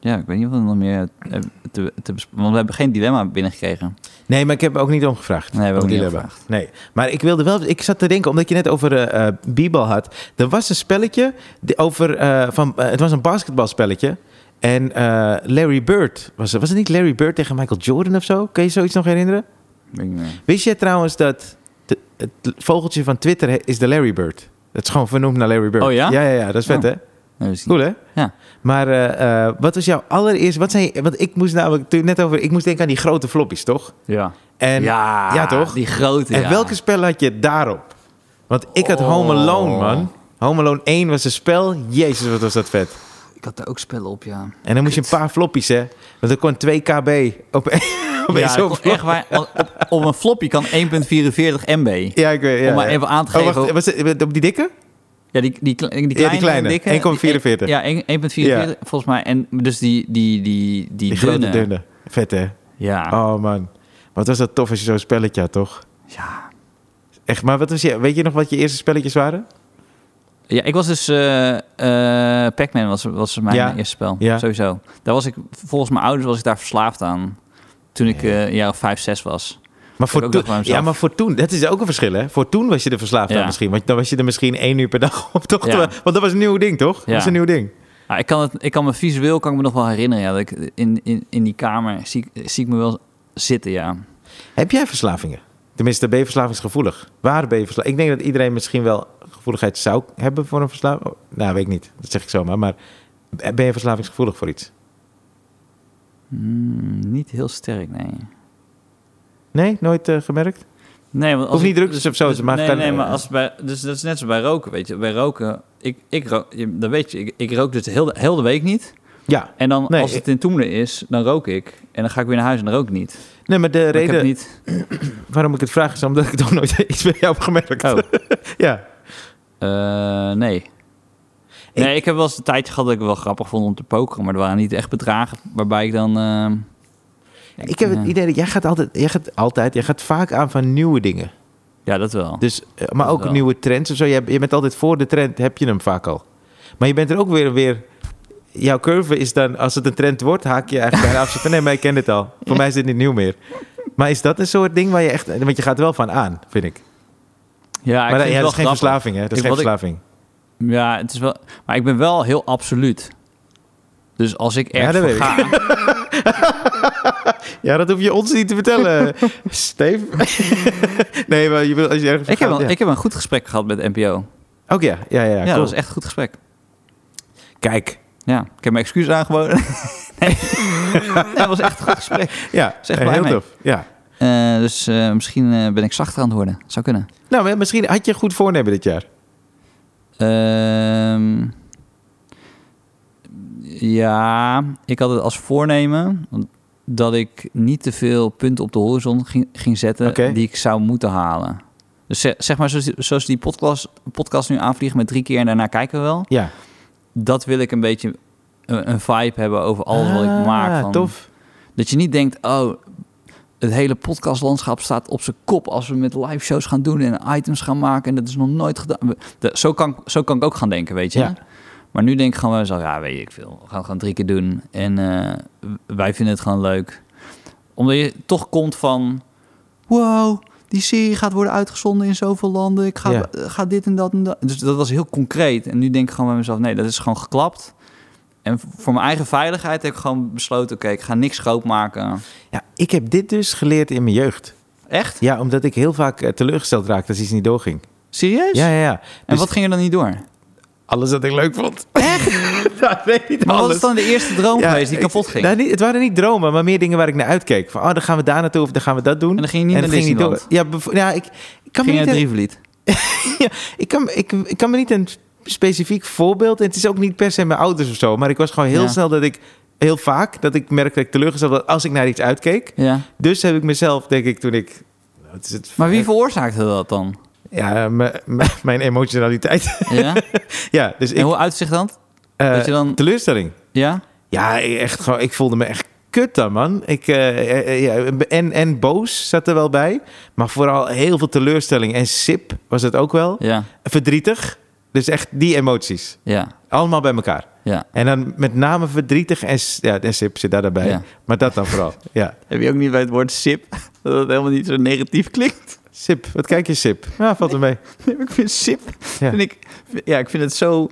S2: ja, ik weet niet of we nog meer eh, te, te besp- Want we hebben geen dilemma binnengekregen.
S1: Nee, maar ik heb ook niet omgevraagd.
S2: Nee, we hebben
S1: Om
S2: ook niet
S1: dilemma.
S2: omgevraagd.
S1: Nee, maar ik wilde wel. Ik zat te denken, omdat je net over eh eh, b-ball had. Er was een spelletje die- over. eh, van, eh, het was een basketbalspelletje. En eh, Larry Bird. Was het, was het niet Larry Bird tegen Michael Jordan of zo? Kun je zoiets nog herinneren?
S2: Weet ik niet meer.
S1: Wist je trouwens dat. de- het vogeltje van Twitter he- is de Larry Bird? Dat is gewoon vernoemd naar Larry Bird.
S2: Oh ja?
S1: Ja, ja, ja dat is vet,
S2: Oh.
S1: hè?
S2: Nee, dus niet.
S1: Cool, hè?
S2: Ja.
S1: Maar eh, eh, wat was jouw allereerste... Wat zijn, je- want ik moest namelijk toen net over... Ik moest denken aan die grote floppies, toch?
S2: Ja.
S1: En,
S2: ja,
S1: ja, toch?
S2: Die grote.
S1: en
S2: ja.
S1: welke spel had je daarop? Want ik had
S2: Oh.
S1: Home Alone, man. Home Alone 1 was een spel. Jezus, wat was dat vet.
S2: Ik had er ook spellen op, ja.
S1: En dan moest je een paar floppies, hè? Want er kon 2 kb op op
S2: ja,
S1: één zo'n
S2: kon
S1: flop.
S2: echt waar, op, op een floppy kan 1.44 MB.
S1: Ja, ik weet ja,
S2: Om maar
S1: ja.
S2: even aan te
S1: Oh,
S2: geven-
S1: wacht, was het, op die dikke?
S2: Ja, die, die, kle- die,
S1: Ja, die kleine,
S2: dikke,
S1: 1,44.
S2: Ja, 1.44
S1: Ja.
S2: volgens mij. En dus die, die, die, die,
S1: Die grote, dunne. Vet, hè?
S2: Ja.
S1: Oh, man. Wat was dat tof als je zo'n spelletje had, toch?
S2: ja.
S1: Echt, maar wat was je, weet je nog wat je eerste spelletjes waren?
S2: Ja, ik was dus... eh eh Pac-Man was, was mijn
S1: Ja.
S2: eerste spel,
S1: Ja.
S2: sowieso. Daar was ik, volgens mijn ouders was ik daar verslaafd aan. Toen ik eh een jaar of 5, 6 was.
S1: Maar voor
S2: ook
S1: toen,
S2: nog wel eens
S1: ja,
S2: af.
S1: maar voor toen, dat is ook een verschil, hè? Voor toen was je er verslaafd
S2: Ja.
S1: aan misschien. Want dan was je er misschien één uur per dag op, toch?
S2: Ja.
S1: Terwijl- Want dat was een nieuw ding, toch?
S2: Ja.
S1: Dat is een nieuw ding.
S2: Ah, ik, kan het, ik kan me visueel kan ik me nog wel herinneren. Ja, dat ik in, in, in die kamer zie, ik- zie ik me wel zitten, ja.
S1: Heb jij verslavingen? Tenminste, ben je verslavingsgevoelig? Waar ben je verslaafd? Ik denk dat iedereen misschien wel gevoeligheid zou hebben voor een verslaving. Nou, weet ik niet. Dat zeg ik zomaar. Maar ben je verslavingsgevoelig voor iets?
S2: Hmm, niet heel sterk, nee.
S1: Nee, nooit eh, gemerkt?
S2: Nee, want als
S1: Hoeft niet
S2: ik- dus-
S1: drugs of zo, maar
S2: nee,
S1: kan-
S2: nee, maar als bij, dus dat is net zo bij roken, weet je. Bij roken, ik, ik rook, je- dat weet je, ik, ik rook dus heel de, heel de week niet.
S1: Ja.
S2: En dan
S1: Nee,
S2: als het in Toemelen is, dan rook ik. En dan ga ik weer naar huis en dan rook ik niet. Maar
S1: Nee, maar de
S2: ik
S1: reden
S2: heb niet.
S1: waarom ik het vraag is omdat ik toch nooit iets bij jou heb gemerkt.
S2: Oh,
S1: Ja.
S2: eh, nee. Nee, ik heb wel eens een tijdje gehad dat ik het wel grappig vond om te pokeren, maar er waren niet echt bedragen waarbij ik dan. eh,
S1: Ik heb het
S2: eh,
S1: idee dat jij gaat altijd, jij gaat altijd, jij gaat vaak aan van nieuwe dingen.
S2: Ja, dat wel.
S1: Dus, eh, maar
S2: Dat
S1: ook
S2: wel.
S1: nieuwe trends of zo. Je, je bent altijd voor de trend, heb je hem vaak al. Maar je bent er ook weer, weer... Jouw curve is dan, als het een trend wordt, haak je eigenlijk bijna af. Zo Van, nee, maar ik ken dit al. Voor mij is dit niet nieuw meer. Maar is dat een soort ding waar je echt... Want je gaat er wel van aan, vind ik.
S2: ja, ik
S1: maar
S2: Ah, vind
S1: dat, ja, dat
S2: het
S1: is
S2: wel
S1: geen
S2: grappig.
S1: verslaving, hè? Dat is
S2: Ik-
S1: geen
S2: wat ik-
S1: verslaving.
S2: Ja, het is wel. Maar ik ben wel heel absoluut. Dus als ik
S1: Ja,
S2: ergens
S1: dat
S2: voor
S1: weet
S2: ga,
S1: Ja, dat hoef je ons niet te vertellen, Steve. nee, maar je wil als je ergens...
S2: Ik heb,
S1: gaat,
S2: een,
S1: ja.
S2: ik heb een goed gesprek gehad met NPO.
S1: Ook Oh, ja, ja, ja,
S2: Ja,
S1: cool.
S2: dat was echt een goed gesprek.
S1: Kijk,
S2: Ja, ik heb mijn excuses aangeboden. nee. Nee, dat was echt een goed gesprek.
S1: ja,
S2: Zeg
S1: eh,
S2: blij
S1: heel
S2: mee.
S1: tof. Ja.
S2: Eh, dus eh, misschien eh, ben ik zachter aan het worden. Zou kunnen.
S1: Nou, maar misschien had je een goed voornemen dit jaar.
S2: Ehm, ja, ik had het als voornemen dat ik niet te veel punten op de horizon ging, ging zetten
S1: Oké.
S2: die ik zou moeten halen. Dus ze- zeg maar, zoals, die- zoals die podcast, podcast nu aanvliegen met drie keer en daarna kijken we wel.
S1: Ja.
S2: dat wil ik een beetje eh, een, een vibe hebben over alles wat ik
S1: Ah,
S2: maak. Van,
S1: Tof.
S2: Dat je niet denkt, oh, het hele podcastlandschap staat op zijn kop als we met live shows gaan doen en items gaan maken en dat is nog nooit gedaan. We- dat- zo, kan, ik- zo kan ik ook gaan denken, weet je.
S1: Ja.
S2: Maar nu denk ik gewoon wel zo, ja, weet ik veel. We gaan het gewoon drie keer doen en eh, w- wij vinden het gewoon leuk. Omdat je toch komt van, wow, die serie gaat worden uitgezonden in zoveel landen. Ik ga,
S1: Ja.
S2: eh, ga dit en dat en dat. Dus dat was heel concreet. En nu denk ik gewoon bij mezelf, nee, dat is gewoon geklapt. En v- voor mijn eigen veiligheid heb ik gewoon besloten, oké, ik ga niks groot maken.
S1: Ja, ik heb dit dus geleerd in mijn jeugd.
S2: Echt?
S1: Ja, omdat ik heel vaak eh, teleurgesteld raakte als iets niet doorging.
S2: Serieus?
S1: Ja, ja, ja.
S2: En
S1: Dus
S2: wat ging er dan niet door?
S1: Alles dat ik leuk vond. Echt? nee, niet
S2: Maar wat
S1: alles.
S2: is dan de eerste droom
S1: Ja,
S2: geweest die
S1: ik-
S2: kapot ging?
S1: nou, niet, het waren niet dromen, maar meer dingen waar ik naar uitkeek. Van, oh, dan gaan we daar naartoe of dan gaan we dat doen.
S2: En dan ging je niet
S1: dat
S2: naar
S1: ging
S2: Disneyland?
S1: Ja, bevo- ja, ik, ik kan me
S2: ging
S1: niet...
S2: naar Drievliet?
S1: Ik kan, ik, ik kan me niet een specifiek voorbeeld. En het is ook niet per se mijn ouders of zo. Maar ik was gewoon heel
S2: Ja.
S1: snel dat ik. Heel vaak dat ik merkte dat ik teleurgesteld was als ik naar iets uitkeek.
S2: Ja.
S1: Dus heb ik mezelf, denk ik, toen ik. nou, Wat is het?
S2: Maar wie veroorzaakte dat dan?
S1: Ja, m- m- mijn emotionaliteit.
S2: Ja?
S1: ja, dus
S2: En
S1: ik.
S2: hoe uitzicht dat?
S1: eh,
S2: dat je dan-
S1: Teleurstelling.
S2: Ja?
S1: Ja, echt gewoon. Ik voelde me echt kut dan, man. Ik, eh, eh, eh, ja, en, en boos zat er wel bij. Maar vooral heel veel teleurstelling. En sip was het ook wel.
S2: Ja,
S1: Verdrietig. Dus echt die emoties.
S2: ja,
S1: Allemaal bij elkaar.
S2: ja.
S1: En dan met name verdrietig en, s- ja, en sip zit daar dan bij.
S2: Ja.
S1: Maar dat dan vooral. ja.
S2: Heb je ook niet bij het woord sip dat het helemaal niet zo negatief klinkt?
S1: Sip, wat kijk je sip? Ja, valt er mee.
S2: Nee, maar ik vind sip.
S1: Ja.
S2: Vind ik, ja, ik vind het zo,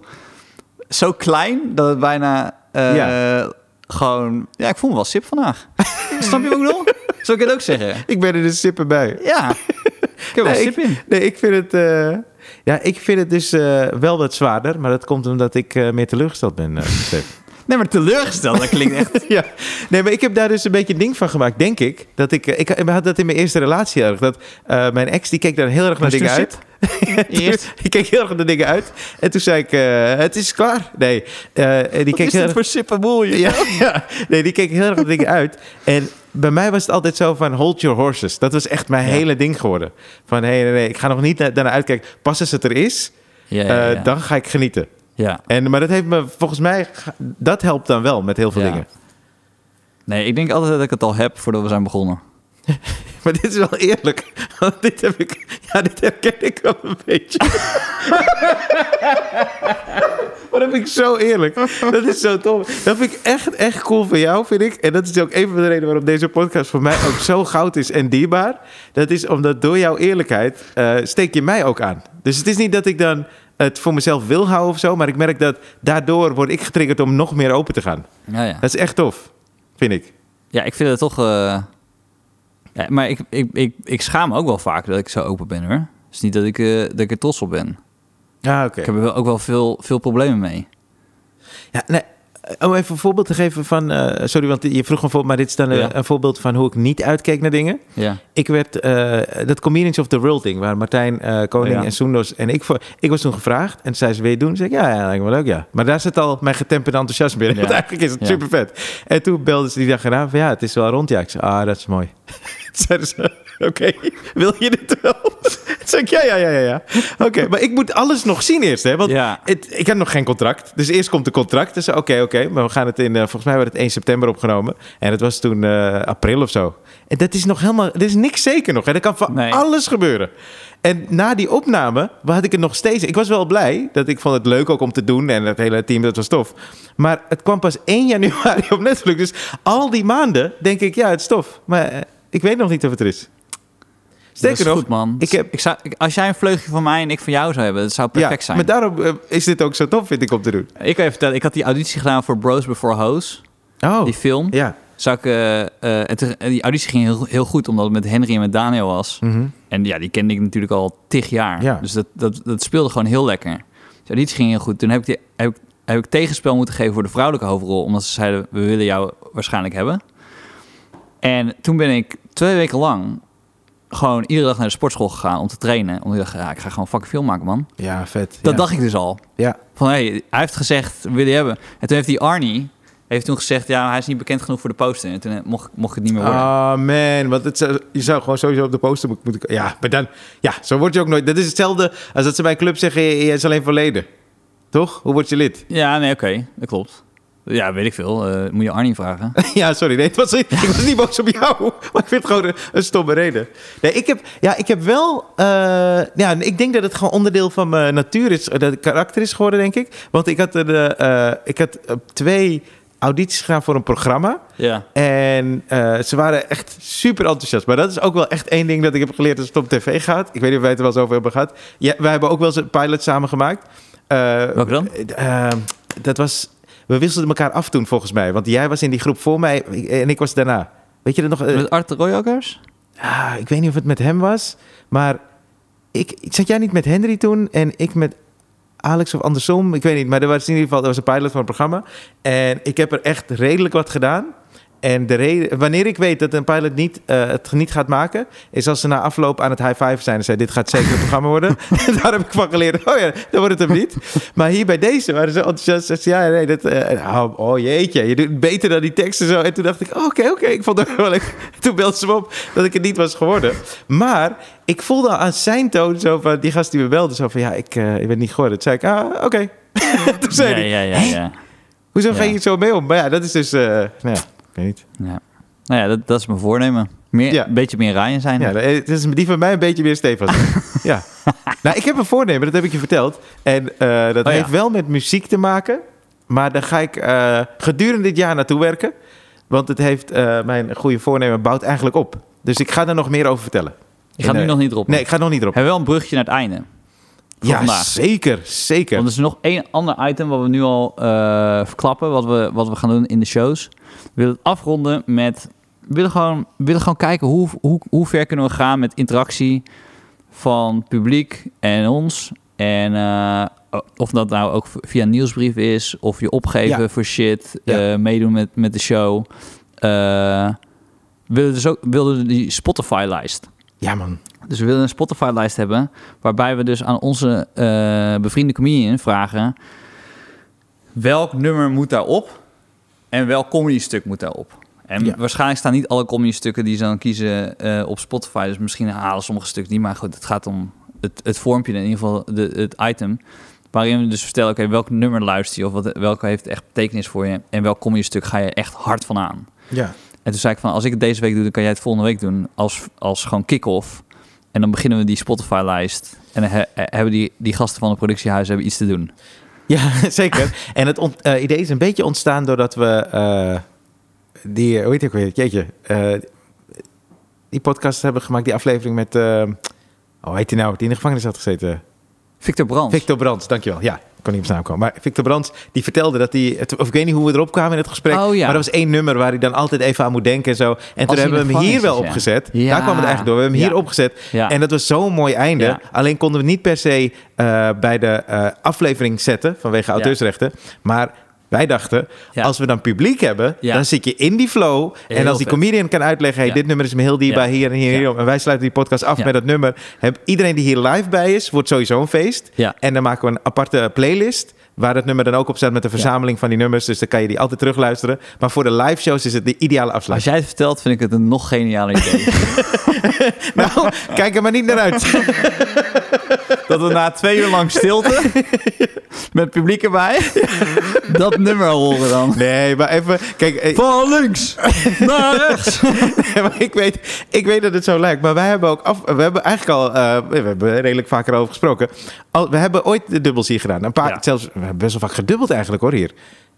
S2: zo klein dat het bijna eh,
S1: Ja.
S2: gewoon. Ja, ik voel me wel sip vandaag. Snap je wat ik bedoel? Zou ik het ook zeggen?
S1: Ik ben er dus sippen bij.
S2: Ja. Ik heb wel
S1: Nee,
S2: sip in.
S1: Nee, ik vind het, eh, ja, ik vind het dus eh, wel wat zwaarder. Maar dat komt omdat ik eh, meer teleurgesteld ben. eh, Stef.
S2: Nee, maar teleurgesteld, dat klinkt echt.
S1: ja. Nee, maar ik heb daar dus een beetje een ding van gemaakt, denk ik. Dat ik, eh, ik, ik had dat in mijn eerste relatie erg. Dat eh, mijn ex, die keek daar heel erg naar
S2: Was
S1: dingen
S2: toen
S1: uit.
S2: Eerst.
S1: Ik keek heel erg naar dingen uit. En toen zei ik, eh, het is klaar. Nee, eh, en die
S2: Wat
S1: keek heel
S2: is dit
S1: erg...
S2: voor sippenboel? joh?
S1: Ja, ja, nee, die keek heel erg naar dingen uit. En bij mij was het altijd zo van hold your horses. Dat was echt mijn
S2: Ja.
S1: hele ding geworden. Van hey, nee, nee, ik ga nog niet na- daarna uitkijken. Pas als het er is,
S2: Ja, ja,
S1: eh,
S2: ja.
S1: dan ga ik genieten.
S2: ja.
S1: En, maar dat heeft me volgens mij, ge- dat helpt dan wel met heel veel
S2: Ja.
S1: dingen.
S2: Nee, ik denk altijd dat ik het al heb voordat we zijn begonnen.
S1: Maar dit is wel eerlijk. Want dit heb ik, ja, dit herken ik wel een beetje. Maar dat vind ik zo eerlijk. Dat is zo tof. Dat vind ik echt, echt cool van jou, vind ik. En dat is ook een van de redenen waarom deze podcast voor mij ook zo goud is en dierbaar. Dat is omdat door jouw eerlijkheid eh, steek je mij ook aan. Dus het is niet dat ik dan het voor mezelf wil houden of zo. Maar ik merk dat daardoor word ik getriggerd om nog meer open te gaan.
S2: Ja, ja.
S1: Dat is echt tof, vind ik.
S2: ja ik vind het toch... eh, ja, maar ik, ik, ik, ik schaam me ook wel vaak dat ik zo open ben, hoor. Het is niet dat ik, eh, dat ik er trots op ben.
S1: Ah, oké.
S2: Ik heb er wel- ook wel veel, veel problemen mee.
S1: Ja, nee, eh, om even een voorbeeld te geven van... eh, sorry, want je vroeg een voorbeeld, maar dit is dan eh,
S2: Ja.
S1: een voorbeeld van hoe ik niet uitkeek naar dingen.
S2: Ja.
S1: Ik werd eh, dat Comedians of the World ding, waar Martijn eh, Koning
S2: Oh, ja.
S1: en Soendos en ik voor... Ik was toen gevraagd en zei ze, wil je het doen? Zeg ik, ja, ja, lijkt me wel leuk, ja. Maar daar zit al mijn getemperde enthousiasme in.
S2: Ja.
S1: Want eigenlijk is het
S2: Ja.
S1: super vet. En toen belden ze die dag erna van, ja, het is wel rond, ja. Ik zei, ah, dat is mooi. Toen zeiden ze, oké, wil je dit wel? Toen zei ik, ja, ja, ja, ja, ja. Oké, maar ik moet alles nog zien eerst, hè. Want
S2: ja.
S1: het- ik heb nog geen contract. Dus eerst komt de contract. Dus oké, oké. maar we gaan het in... eh, volgens mij werd het 1 september opgenomen. En het was toen eh, april of zo. En dat is nog helemaal... Er is niks zeker nog. Hè? Er kan van
S2: Nee.
S1: alles gebeuren. En na die opname had ik het nog steeds... Ik was wel blij. Dat ik vond het leuk ook om te doen. En het hele team, dat was tof. Maar het kwam pas 1 januari op Netflix. Dus al die maanden denk ik... Ja, het is tof. Maar eh, ik weet nog niet of het er is.
S2: dus Dat
S1: Sterker
S2: is
S1: nog...
S2: goed, man.
S1: ik heb-
S2: ik zou, ik- als jij een vleugje van mij en ik van jou zou hebben, dat zou perfect
S1: ja,
S2: zijn.
S1: maar daarom eh, is dit ook zo tof, vind ik, om te doen.
S2: Ik kan je vertellen, ik had die auditie gedaan voor Bros Before Hoes,
S1: Oh,
S2: die film.
S1: ja.
S2: Zou ik, eh, eh, en toen- en die auditie ging heel, heel goed, omdat het met Henry en met Daniel was.
S1: Mhm.
S2: En ja, die kende ik natuurlijk al tig jaar.
S1: Ja.
S2: Dus dat, dat, dat speelde gewoon heel lekker. Dus ja, die ging heel goed. Toen heb ik, die, heb, ik, heb ik tegenspel moeten geven voor de vrouwelijke hoofdrol. Omdat ze zeiden, we willen jou waarschijnlijk hebben. En toen ben ik twee weken lang gewoon iedere dag naar de sportschool gegaan om te trainen. Omdat ik dacht, ja, ik ga gewoon fucking film maken, man.
S1: Ja, vet.
S2: Dat
S1: ja.
S2: dacht ik dus al.
S1: Ja.
S2: Van, hé, hij heeft gezegd, we willen je hebben. En toen heeft die Arnie heeft toen gezegd, ja, hij is niet bekend genoeg voor de poster. En toen eh, mocht, ik- mocht ik het niet meer worden.
S1: Ah, man. Want het zou- je zou gewoon sowieso op de poster mo- moeten... ko- Ja, maar dan... Ja, zo word je ook nooit... Dat is hetzelfde als dat ze bij een club zeggen... Je, je is alleen voor leden. Toch? Hoe word je lid?
S2: Ja, nee, oké. Dat klopt. Ja, weet ik veel. Eh, moet je Arnie vragen.
S1: ja, sorry. Nee, het was, ik was niet boos op jou. Maar ik vind het gewoon een, een stomme reden. Nee, ik heb, ja, ik heb wel... eh, ja, ik denk dat het gewoon onderdeel van mijn natuur is... Dat het karakter is geworden, denk ik. Want ik had, een, eh, eh, ik had eh, twee audities gedaan voor een programma.
S2: Ja.
S1: En eh, ze waren echt super enthousiast. Maar dat is ook wel echt één ding dat ik heb geleerd als het om tv gaat. Ik weet niet of wij het er wel eens over hebben gehad. Ja, wij hebben ook wel eens een pilot samen gemaakt. Eh,
S2: Welke dan?
S1: eh, dat was... We wisselden elkaar af toen, volgens mij. Want jij was in die groep voor mij en ik was daarna. Weet je dat nog? Eh,
S2: Met Art de Royokers?
S1: ah, ik weet niet of het met hem was. Maar ik, zat jij niet met Henry toen en ik met Alex of andersom? Ik weet niet, maar er was in ieder geval er was een pilot van een programma. En ik heb er echt redelijk wat gedaan. En de reden, wanneer ik weet dat een pilot niet, eh, het niet gaat maken... is als ze na afloop aan het high five zijn en zeiden... dit gaat zeker een programma worden. Daar heb ik van geleerd, oh ja, dan wordt het hem niet. Maar hier bij deze waren ze enthousiast. Ze zeiden, ja, nee, dat, eh, oh, oh jeetje, je doet het beter dan die teksten zo. En toen dacht ik, oké, oké, ik vond het wel leuk. Toen belde ze me op dat ik het niet was geworden. Maar ik voelde al aan zijn toon zo van... die gast die me belde, zo van, ja, ik, eh, ik ben het niet geworden. Toen zei ik, ah, oké. toen zei
S2: ja,
S1: hij,
S2: ja, ja, ja.
S1: hoezo ga
S2: Ja.
S1: je hier zo mee om? Maar ja, dat is dus... eh, nou ja. Ik weet niet.
S2: Ja. Nou ja, dat, dat is mijn voornemen. Meer,
S1: Ja.
S2: Een beetje meer Ryan zijn.
S1: Ja, eh, het is die van mij een beetje meer Stefan. ja. Nou, ik heb een voornemen, dat heb ik je verteld. En eh, dat
S2: Oh ja.
S1: heeft wel met muziek te maken. Maar daar ga ik eh, gedurende dit jaar naartoe werken. Want het heeft, eh, mijn goede voornemen bouwt eigenlijk op. Dus ik ga daar nog meer over vertellen.
S2: ik ga nu
S1: Nee.
S2: nog niet erop.
S1: Nee, ik ga nog niet erop.
S2: We hebben wel een brugje naar het einde. Voor
S1: Ja,
S2: vandaag.
S1: zeker, zeker.
S2: Want er is nog één ander item wat we nu al eh, verklappen, wat we, wat we gaan doen in de shows. We willen het afronden met... We willen gewoon, we willen gewoon kijken hoe, hoe, hoe ver kunnen we gaan met interactie van publiek en ons. En eh, of dat nou ook via een nieuwsbrief is, of je opgeven
S1: Ja.
S2: voor shit,
S1: Ja.
S2: eh, meedoen met, met de show. Eh, we willen dus ook we willen die Spotify-lijst.
S1: Ja, man.
S2: Dus we willen een Spotify-lijst hebben... waarbij we dus aan onze eh, bevriende comedian vragen... welk nummer moet daarop en welk comedy-stuk moet daarop? En
S1: Ja.
S2: waarschijnlijk staan niet alle comedy-stukken die ze dan kiezen eh, op Spotify. Dus misschien halen sommige stukken niet. Maar goed, het gaat om het, het vormpje, in ieder geval de, het item... waarin we dus vertellen, oké, welk nummer luister je... of wat, welke heeft echt betekenis voor je... en welk comedy-stuk ga je echt hard van aan.
S1: Ja.
S2: En toen zei ik van, als ik het deze week doe, dan kan jij het volgende week doen. Als, als gewoon kick-off. En dan beginnen we die Spotify-lijst. En dan he- he- hebben die, die gasten van het productiehuis hebben iets te doen.
S1: Ja, zeker. En het ont- eh, idee is een beetje ontstaan doordat we eh, die, eh, hoe heet het ook weer, jeetje, eh, die podcast hebben gemaakt, die aflevering met, eh, oh, hoe heet hij nou, die in de gevangenis had gezeten.
S2: Victor Brands.
S1: Victor Brands, dankjewel. Ja, ik kon niet op zijn naam komen. Maar Victor Brands, die vertelde dat hij, het- of ik weet niet hoe we erop kwamen in het gesprek,
S2: Oh, ja.
S1: maar dat was één nummer waar hij dan altijd even aan moet denken en zo. En
S2: hij
S1: toen hebben
S2: in
S1: we
S2: de
S1: hem hier wel
S2: gevangenis is, ja.
S1: opgezet.
S2: Ja.
S1: Daar kwam het eigenlijk door. We hebben hem
S2: Ja.
S1: hier opgezet.
S2: Ja.
S1: En dat was zo'n mooi einde.
S2: Ja.
S1: Alleen konden we het niet per se eh, bij de eh, aflevering zetten vanwege auteursrechten. Maar wij dachten,
S2: Ja.
S1: als we dan publiek hebben,
S2: Ja.
S1: dan zit je in die flow. en
S2: Heel
S1: als die
S2: vet.
S1: comedian kan uitleggen, hey,
S2: Ja.
S1: dit nummer is me heel dierbaar,
S2: Ja.
S1: hier en hier en
S2: Ja.
S1: hierom. En wij sluiten die podcast af
S2: Ja.
S1: met dat nummer. Heb, iedereen die hier live bij is, wordt sowieso een feest.
S2: Ja.
S1: En dan maken we een aparte playlist. Waar dat nummer dan ook op staat met een verzameling van die nummers. Dus dan kan je die altijd terugluisteren. Maar voor de live shows is het de ideale
S2: Als
S1: afsluiting.
S2: jij het vertelt, vind ik het een nog genialer idee.
S1: Nou, kijk er maar niet naar uit.
S2: dat we na twee uur lang stilte, met publiek erbij, dat nummer horen dan.
S1: Nee, maar even. Kijk, eh,
S2: Van links naar rechts.
S1: maar ik, weet, ik weet dat het zo lijkt. Maar wij hebben ook af. We hebben eigenlijk al. eh, we hebben er redelijk vaker over gesproken. Al, we hebben ooit de dubbels hier gedaan. Een paar.
S2: Ja.
S1: Zelfs. We hebben best wel vaak gedubbeld eigenlijk hoor hier.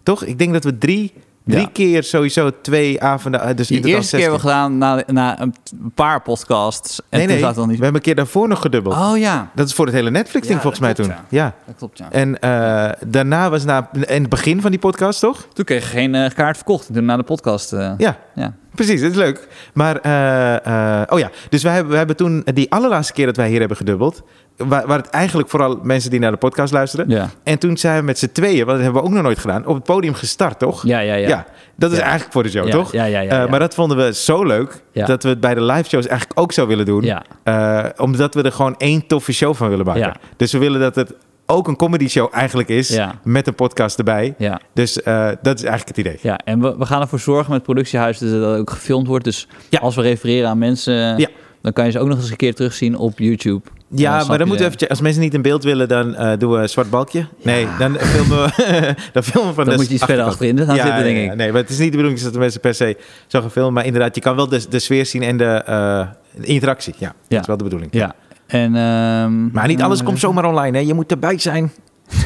S1: Toch? Ik denk dat we drie. Drie
S2: Ja.
S1: keer sowieso twee avonden. eh, Dus in
S2: Die
S1: totaal
S2: eerste keer hebben we
S1: 16.
S2: gedaan na, na een paar podcasts. En
S1: Nee,
S2: toen
S1: nee.
S2: zat het al
S1: We
S2: niet.
S1: hebben een keer daarvoor nog gedubbeld.
S2: Oh ja,
S1: Dat is voor het hele Netflix-ding
S2: Ja,
S1: volgens mij
S2: dat
S1: toen.
S2: klopt,
S1: Ja.
S2: dat klopt ja.
S1: En eh, daarna was na, in het begin van die podcast, toch?
S2: Toen kreeg je geen eh, kaart verkocht. Toen na de podcast. eh,
S1: Ja,
S2: ja.
S1: precies. Dat is leuk. Maar, eh, eh, oh ja, dus wij hebben, wij hebben toen die allerlaatste keer dat wij hier hebben gedubbeld... Waar, waar het eigenlijk vooral mensen die naar de podcast luisteren...
S2: Ja.
S1: En toen zijn we met z'n tweeën, want dat hebben we ook nog nooit gedaan... op het podium gestart, toch?
S2: Ja, ja, ja.
S1: dat is
S2: Ja.
S1: eigenlijk voor de show,
S2: Ja,
S1: toch?
S2: Ja, ja, ja.
S1: Eh,
S2: ja.
S1: Maar dat vonden we zo leuk...
S2: Ja.
S1: dat we het bij de live shows eigenlijk ook zo willen doen.
S2: Ja.
S1: Eh, omdat we er gewoon één toffe show van willen maken.
S2: Ja.
S1: Dus we willen dat het ook een comedy show eigenlijk is...
S2: Ja.
S1: met een podcast erbij.
S2: ja.
S1: Dus eh, dat is eigenlijk het idee.
S2: Ja, en we, we gaan ervoor zorgen met het productiehuis dat het ook gefilmd wordt. Dus
S1: Ja.
S2: als we refereren aan mensen,
S1: Ja.
S2: dan kan je ze ook nog eens een keer terugzien op YouTube.
S1: Ja,
S2: snap
S1: maar
S2: je
S1: dan moeten we
S2: de-
S1: eventjes... Als mensen niet in beeld willen, dan eh, doen we een zwart balkje. Nee, dan filmen we, dan filmen we van
S2: Dan
S1: de
S2: moet je iets verder
S1: achterkant.
S2: achterin gaan zitten, denk
S1: ja,
S2: ik.
S1: ja. Nee, maar het is niet de bedoeling dat de mensen per se zo gaan filmen. Maar inderdaad, je kan wel de, de sfeer zien en de, eh, de interactie. Ja, dat is wel de bedoeling.
S2: Ja. En, ehm,
S1: Maar niet
S2: ja,
S1: alles komt zomaar online, hè. Je moet erbij zijn.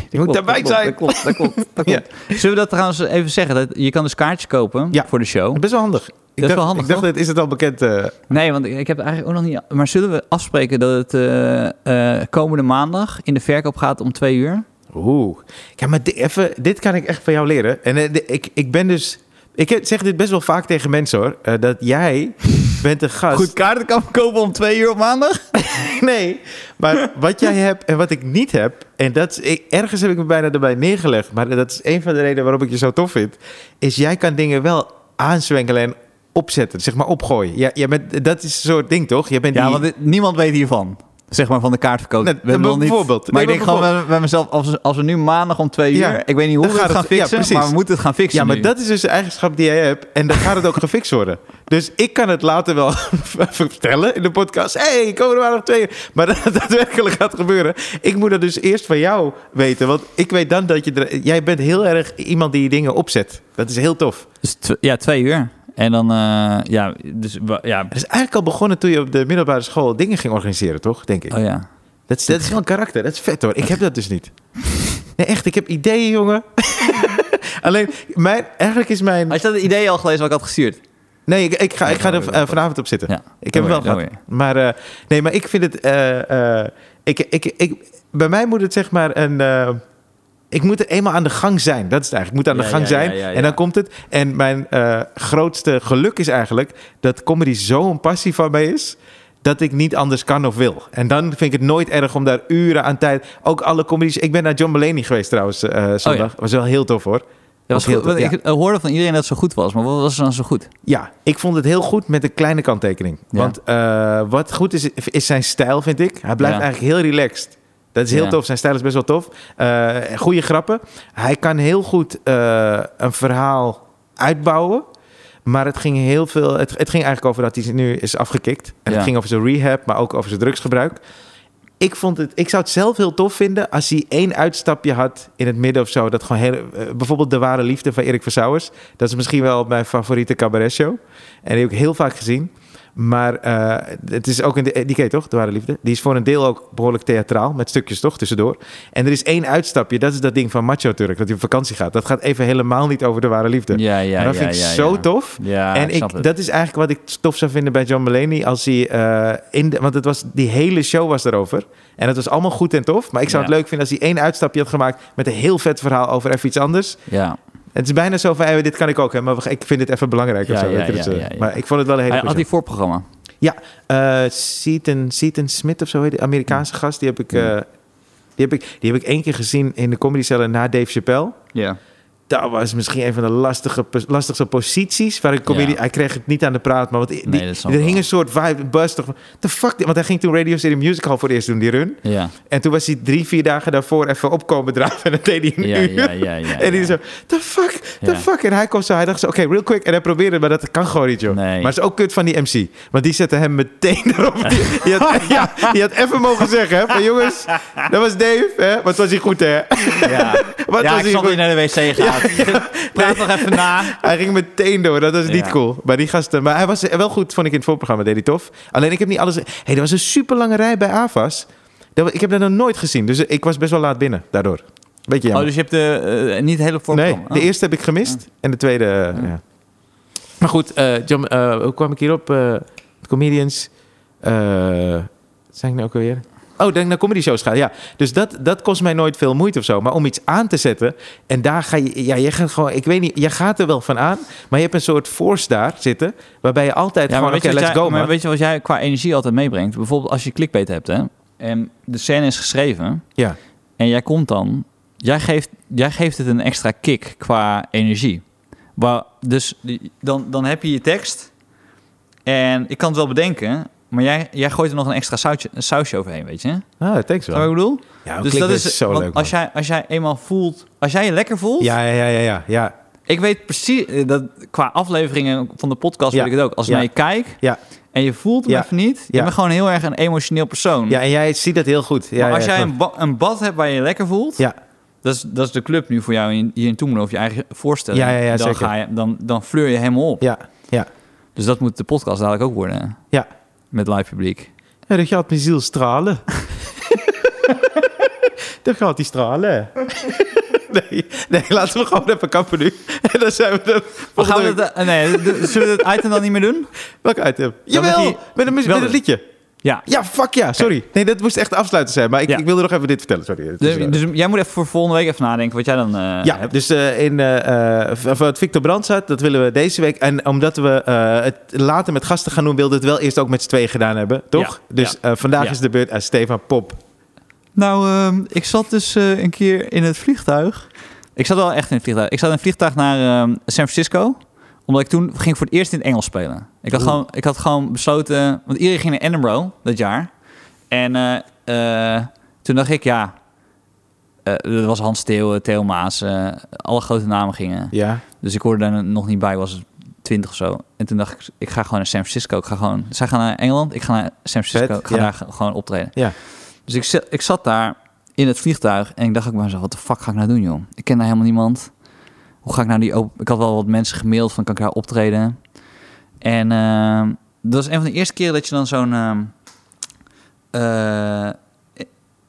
S1: Je moet
S2: Klopt,
S1: erbij
S2: dat klopt,
S1: zijn.
S2: Dat klopt, dat klopt. Dat
S1: Ja.
S2: klopt. Zullen we dat trouwens even zeggen? Dat je kan dus kaartjes kopen
S1: Ja.
S2: voor de show.
S1: Best wel handig. Ik
S2: is wel handig,
S1: Ik dacht, dat is het al bekend? eh,
S2: Nee, want ik ik heb het eigenlijk ook nog niet... Maar zullen we afspreken dat het eh, eh, komende maandag in de verkoop gaat om twee uur?
S1: Oeh. Ja, maar di- even, dit kan ik echt van jou leren. En eh, di- ik, ik ben dus... Ik heb- zeg dit best wel vaak tegen mensen, hoor. eh, dat jij bent een gast...
S2: Goed kaarten kan verkopen om twee uur op maandag?
S1: Nee, maar wat jij hebt en wat ik niet heb... en dat is, ik- ergens heb ik me bijna erbij neergelegd... maar dat is een van de redenen waarom ik je zo tof vind... is jij kan dingen wel aanzwenkelen en opzetten, zeg maar opgooien. Ja, jij bent, dat is een soort ding, toch? Jij bent
S2: Ja,
S1: die-
S2: want dit- niemand weet hiervan. Zeg maar van de kaartverkoop.
S1: Nou,
S2: We hebben nog niet-
S1: bijvoorbeeld.
S2: Maar
S1: Nee,
S2: ik denk gewoon bij, bij mezelf, als, we- als we nu maandag om twee uur...
S1: Ja,
S2: ik weet niet hoe
S1: dan
S2: we
S1: gaat
S2: het gaan
S1: het- ja,
S2: fixen,
S1: precies.
S2: maar we moeten het gaan fixen
S1: Ja, maar
S2: nu.
S1: dat is dus de eigenschap die jij hebt. En dan gaat het ook gefixt worden. Dus ik kan het later wel vertellen in de podcast. Hé, hey, komen er maar nog twee uur. Maar dat het daadwerkelijk gaat gebeuren. Ik moet dat dus eerst van jou weten. Want ik weet dan dat je... Er, jij bent heel erg iemand die dingen opzet. Dat is heel tof.
S2: Dus tw- ja, twee uur. En dan, eh, ja, dus, wa- ja.
S1: Het is eigenlijk al begonnen toen je op de middelbare school dingen ging organiseren, toch? Denk ik.
S2: Oh ja.
S1: Ah, Dat is, dat is wel een karakter. Dat is vet hoor. Ik heb dat dus niet. Nee, echt. Ik heb ideeën, jongen. Alleen, mijn, eigenlijk is mijn...
S2: Had je dat idee al gelezen wat ik had gestuurd?
S1: Nee, ik, ik, ga, ik ga er eh, vanavond op zitten.
S2: Ja.
S1: Ik heb
S2: Don't
S1: het wel
S2: worry,
S1: gehad.
S2: don't
S1: Maar, eh, nee, maar ik vind het... eh, eh, ik, ik, ik, bij mij moet het zeg maar een... eh, ik moet er eenmaal aan de gang zijn. Dat is het eigenlijk. Ik moet aan de
S2: Ja,
S1: gang
S2: ja,
S1: zijn.
S2: ja, ja, ja.
S1: En dan komt het. En mijn eh, grootste geluk is eigenlijk... dat comedy zo'n passie van mij is... dat ik niet anders kan of wil. En dan vind ik het nooit erg om daar uren aan tijd... ook alle comedies... Ik ben naar John Mulaney geweest trouwens eh,
S2: Oh
S1: zondag. was wel heel tof hoor.
S2: Dat was
S1: heel
S2: goed, want
S1: tof,
S2: Ik eh, hoorde van iedereen dat het zo goed was, maar wat was er dan zo goed?
S1: Ja, ik vond het heel goed met een kleine kanttekening.
S2: Ja.
S1: Want eh, wat goed is, is zijn stijl, vind ik. Hij blijft
S2: Ja.
S1: eigenlijk heel relaxed. Dat is heel
S2: Ja.
S1: tof. Zijn stijl is best wel tof. Eh goede grappen. Hij kan heel goed eh, een verhaal uitbouwen. Maar het ging heel veel. Het, het ging eigenlijk over dat hij nu is afgekikt. En
S2: Ja.
S1: het ging over zijn rehab, maar ook over zijn drugsgebruik. Ik, vond het, ik zou het zelf heel tof vinden als hij één uitstapje had in het midden of zo. Dat gewoon heel, eh, bijvoorbeeld De Ware Liefde van Erik Versauwers. Dat is misschien wel mijn favoriete cabaretshow. En die heb ik heel vaak gezien. Maar eh, het is ook een, de- eh, die ken je toch, De Ware Liefde? Die is voor een deel ook behoorlijk theatraal, met stukjes toch, tussendoor. En er is één uitstapje, dat is dat ding van Macho Turk, dat hij op vakantie gaat. Dat gaat even helemaal niet over De Ware Liefde.
S2: Ja, ja,
S1: Maar dat
S2: ja,
S1: vind ik
S2: ja,
S1: zo
S2: ja.
S1: tof.
S2: Ja,
S1: en
S2: snap
S1: ik,
S2: het.
S1: dat is eigenlijk wat ik tof zou vinden bij John Mulaney. Als hij eh, in de, want het was, die hele show was daarover. En het was allemaal goed en tof. Maar ik zou het
S2: Ja.
S1: leuk vinden als hij één uitstapje had gemaakt. met een heel vet verhaal over even iets anders.
S2: Ja.
S1: Het is bijna zo van: hey, dit kan ik ook, hè, maar we- ik vind dit even belangrijk. of
S2: Ja,
S1: zo,
S2: ja,
S1: weet je,
S2: ja,
S1: dat zo.
S2: ja, ja.
S1: Maar ik vond het wel een hele
S2: Hij
S1: goede
S2: had die voorprogramma.
S1: ja, eh Seaton, Seaton Smith of zo heet die Amerikaanse gast. Die heb ik, eh, die heb ik, die heb ik één keer gezien in de comedycellen na Dave Chappelle.
S2: Ja.
S1: Dat was misschien een van de lastige, pos- lastigste posities. Waar ik comedy,
S2: Ja.
S1: Hij kreeg het niet aan de praat, maar wat, die,
S2: Nee, dat snap
S1: er
S2: ik
S1: hing
S2: wel.
S1: een soort vibe, buzz. Toch, van, the fuck, dit?" want hij ging toen Radio City Music Hall voor het eerst doen, die run.
S2: Ja.
S1: En toen was hij drie, vier dagen daarvoor even opkomen draven. En dat deed hij een
S2: Ja,
S1: uur.
S2: ja, ja, ja,
S1: en hij
S2: ja.
S1: zo, the fuck, the
S2: Ja.
S1: fuck. En hij kwam zo, hij dacht zo, oké, real quick. En hij probeerde, het, maar dat kan gewoon niet, joh.
S2: Nee.
S1: Maar het is ook kut van die MC. Want die zette hem meteen erop. Die, die had, ja, die had even mogen zeggen, hè. Van jongens, dat was Dave, hè. Wat was hij goed, hè.
S2: Ja,
S1: Wat was
S2: ja ik
S1: hij
S2: snap dat je
S1: goed.
S2: naar de wc gaat. Praat nog even na.
S1: Hij ging meteen door, dat was niet
S2: Ja.
S1: cool. Maar die gasten, maar hij was wel goed, vond ik in het voorprogramma, deed hij tof. Alleen ik heb niet alles... Hé, hey, er was een super lange rij bij AVAS. Dat we- Ik heb dat nog nooit gezien, dus ik was best wel laat binnen daardoor. Beetje jammer.
S2: Oh, dus je hebt de, eh, niet het hele Oh.
S1: Nee,
S2: voorprogramma.
S1: de eerste heb ik
S2: Ah.
S1: gemist en de tweede. eh, ja. Maar goed, eh, John, eh, hoe kwam ik hierop? Eh, comedians. eh, wat zijn ik nou ook alweer? Oh, dat ik naar comedy shows ga. Ja, dus dat, dat kost mij nooit veel moeite of zo. Maar om iets aan te zetten. En daar ga je. Ja, je gaat gewoon. Ik weet niet. Je gaat er wel van aan. Maar je hebt een soort force daar zitten. Waarbij je altijd
S2: Ja, maar
S1: gewoon.
S2: weet
S1: Oké,
S2: je wat
S1: let's
S2: jij-
S1: go,
S2: maar
S1: man.
S2: weet je wat jij qua energie altijd meebrengt? Bijvoorbeeld als je clickbait hebt, hè? En de scène is geschreven
S1: Ja.
S2: en jij komt dan... Jij geeft, jij geeft het een extra kick qua energie. Waar, dus die- dan, dan heb je je tekst en ik kan het wel bedenken... Maar jij, jij gooit er nog een extra sausje, een sausje overheen, weet je? Snap
S1: Ah, thanks
S2: je wat
S1: wel.
S2: ik bedoel?
S1: Ja, dus dat is zo
S2: want
S1: leuk.
S2: Als
S1: man.
S2: jij, als jij eenmaal voelt, als jij je lekker voelt,
S1: Ja, ja, ja, ja, ja, ja.
S2: ik weet precies eh, dat qua afleveringen van de podcast
S1: Ja.
S2: weet ik het ook. Als ik
S1: Ja.
S2: naar je kijk
S1: Ja.
S2: en je voelt hem
S1: Ja.
S2: even niet, je
S1: Ja.
S2: bent gewoon heel erg een emotioneel persoon.
S1: Ja, en jij ziet dat heel goed. Ja,
S2: maar als
S1: ja,
S2: jij
S1: klopt.
S2: een, ba- een bad hebt waar je je lekker voelt,
S1: Ja.
S2: dat, is, dat is de club nu voor jou in, hier in Toemelo of je eigen voorstelling.
S1: Ja, ja, ja,
S2: dan,
S1: zeker.
S2: Ga je, dan, dan fleur je helemaal op.
S1: Ja, ja,
S2: Dus dat moet de podcast dadelijk ook worden
S1: ja.
S2: met live publiek.
S1: Ja, dat gaat mijn ziel stralen. dat gaat die stralen. nee, nee, laten we gewoon even kappen nu. En dan zijn we er
S2: Maar gaan
S1: volgende
S2: we
S1: week.
S2: dat, eh, nee, d- zullen we dat item dan niet meer doen?
S1: Welk item? Jawel,
S2: die-
S1: met een, mu-
S2: wel
S1: met een
S2: de-
S1: liedje.
S2: Ja.
S1: Ja, fuck ja, sorry. Nee, dat moest echt afsluiten zijn. Maar ik,
S2: Ja.
S1: ik wilde nog even dit vertellen, sorry. Het is,
S2: Dus,
S1: eh,
S2: dus jij moet even voor volgende week even nadenken wat jij dan eh,
S1: Ja,
S2: hebt.
S1: dus eh, in, eh, eh, v- wat Victor Brandt zat, dat willen we deze week. En omdat we eh, het later met gasten gaan doen, wilden we het wel eerst ook met z'n tweeën gedaan hebben, toch?
S2: Ja,
S1: Dus
S2: ja.
S1: eh, vandaag
S2: Ja.
S1: is de beurt aan Stefan Pop.
S2: Nou, ehm, ik zat dus eh, een keer in het vliegtuig. Ik zat wel echt in het vliegtuig. Ik zat in het vliegtuig naar ehm, San Francisco. Omdat ik toen ging ik voor het eerst in het Engels spelen. Ik had,
S1: Oeh.
S2: gewoon, ik had gewoon besloten... Want iedereen ging naar Edinburgh dat jaar. En eh, eh, toen dacht ik, ja... eh, dat was Hans Theo, Theo Maas. eh, alle grote namen gingen.
S1: Ja.
S2: Dus ik hoorde daar nog niet bij. was het 20 of zo. En toen dacht ik, ik ga gewoon naar San Francisco. Ik ga gewoon, zij gaan naar Engeland. Ik ga naar San Francisco.
S1: Vet,
S2: ik ga
S1: ja.
S2: daar ge- gewoon optreden.
S1: Ja.
S2: Dus ik, zat- ik zat daar in het vliegtuig en ik dacht ook bij mezelf, wat de fuck ga ik nou doen, joh? Ik ken daar helemaal niemand. Hoe ga ik nou die open... Ik had wel wat mensen gemaild van, kan ik daar optreden? En ehm, dat was een van de eerste keren dat je dan zo'n... ehm, eh,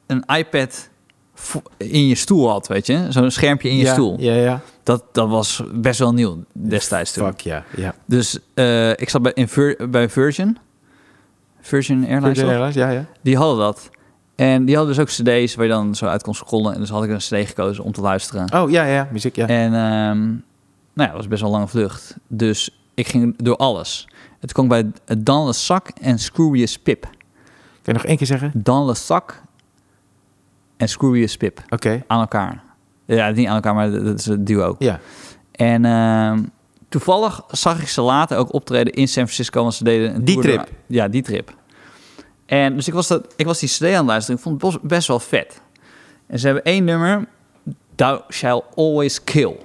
S2: een iPad vo- in je stoel had, weet je? Zo'n schermpje in je
S1: ja,
S2: stoel.
S1: Ja, ja.
S2: Dat, dat was best wel nieuw destijds toen.
S1: Fuck ja. ja.
S2: Dus eh, ik zat bij, in Vir- bij Virgin. Virgin Airlines.
S1: Virgin
S2: toch?
S1: Airlines, ja, ja.
S2: Die hadden dat. En die hadden dus ook cd's waar je dan zo uit kon scrollen. En dus had ik een cd gekozen om te luisteren.
S1: Oh ja, ja, muziek, ja.
S2: En ehm, nou ja, dat was best wel een lange vlucht. Dus ik ging door alles. En toen kwam ik bij het Dan Le Sac en Scroobius Pip.
S1: Kun je nog één keer zeggen?
S2: Dan Le Sac en Scroobius Pip.
S1: Oké.
S2: Aan elkaar. Ja, niet aan elkaar, maar dat dat is het duo.
S1: Ja.
S2: En ehm, toevallig zag ik ze later ook optreden in San Francisco. Want ze deden een
S1: Die
S2: tour door-
S1: trip?
S2: ja, die trip. En dus ik was, dat, ik was die CD aan het luisteren. Ik vond het bos- best wel vet. En ze hebben één nummer. Thou shall always kill.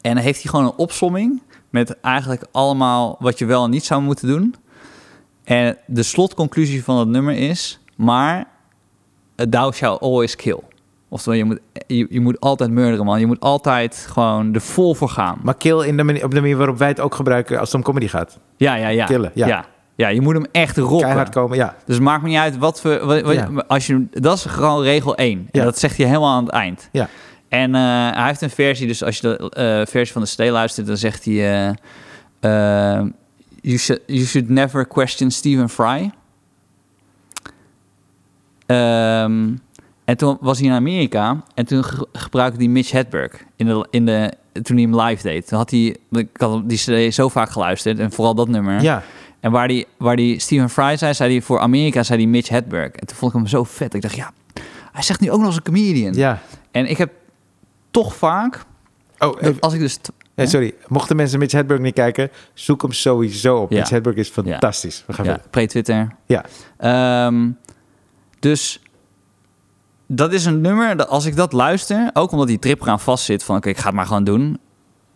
S2: En dan heeft hij gewoon een opsomming. Met eigenlijk allemaal wat je wel en niet zou moeten doen. En de slotconclusie van dat nummer is... Maar eh, thou shall always kill. Oftewel, je moet, je, je moet altijd murderen, man. Je moet altijd gewoon er vol voor gaan.
S1: Maar kill in de manier, op de manier waarop wij het ook gebruiken als het om comedy gaat.
S2: ja, ja, ja.
S1: killen, ja.
S2: ja. Ja, je moet hem echt rocken.
S1: Keihard komen, ja.
S2: Dus het maakt me niet uit wat voor... Wat, wat-
S1: Ja.
S2: als je, dat is gewoon regel 1.
S1: Ja.
S2: En dat zegt hij helemaal aan het eind.
S1: Ja.
S2: En eh, hij heeft een versie, dus als je de eh, versie van de CD luistert, dan zegt hij... eh, eh, you, should, you should never question Stephen Fry. Ehm, en toen was hij in Amerika en toen ge- gebruikte hij Mitch Hedberg in de, in de, toen hij hem live deed. Toen had hij, ik had die CD zo vaak geluisterd en vooral dat nummer.
S1: Ja.
S2: En waar die, waar die Stephen Fry zei, zei hij voor Amerika, zei hij Mitch Hedberg. En toen vond ik hem zo vet. Ik dacht, ja, hij zegt nu ook nog eens een comedian.
S1: ja.
S2: En ik heb toch vaak,
S1: Oh,
S2: dat
S1: even-
S2: als ik dus... t-
S1: eh, sorry. Mochten mensen Mitch Hedberg niet kijken, zoek hem sowieso op.
S2: Ja.
S1: Mitch Hedberg is fantastisch. We gaan
S2: ja,
S1: verder.
S2: pre-Twitter.
S1: Ja.
S2: Ehm, dus dat is een nummer, dat als ik dat luister, ook omdat die trip eraan vastzit van oké, ik ga het maar gewoon doen.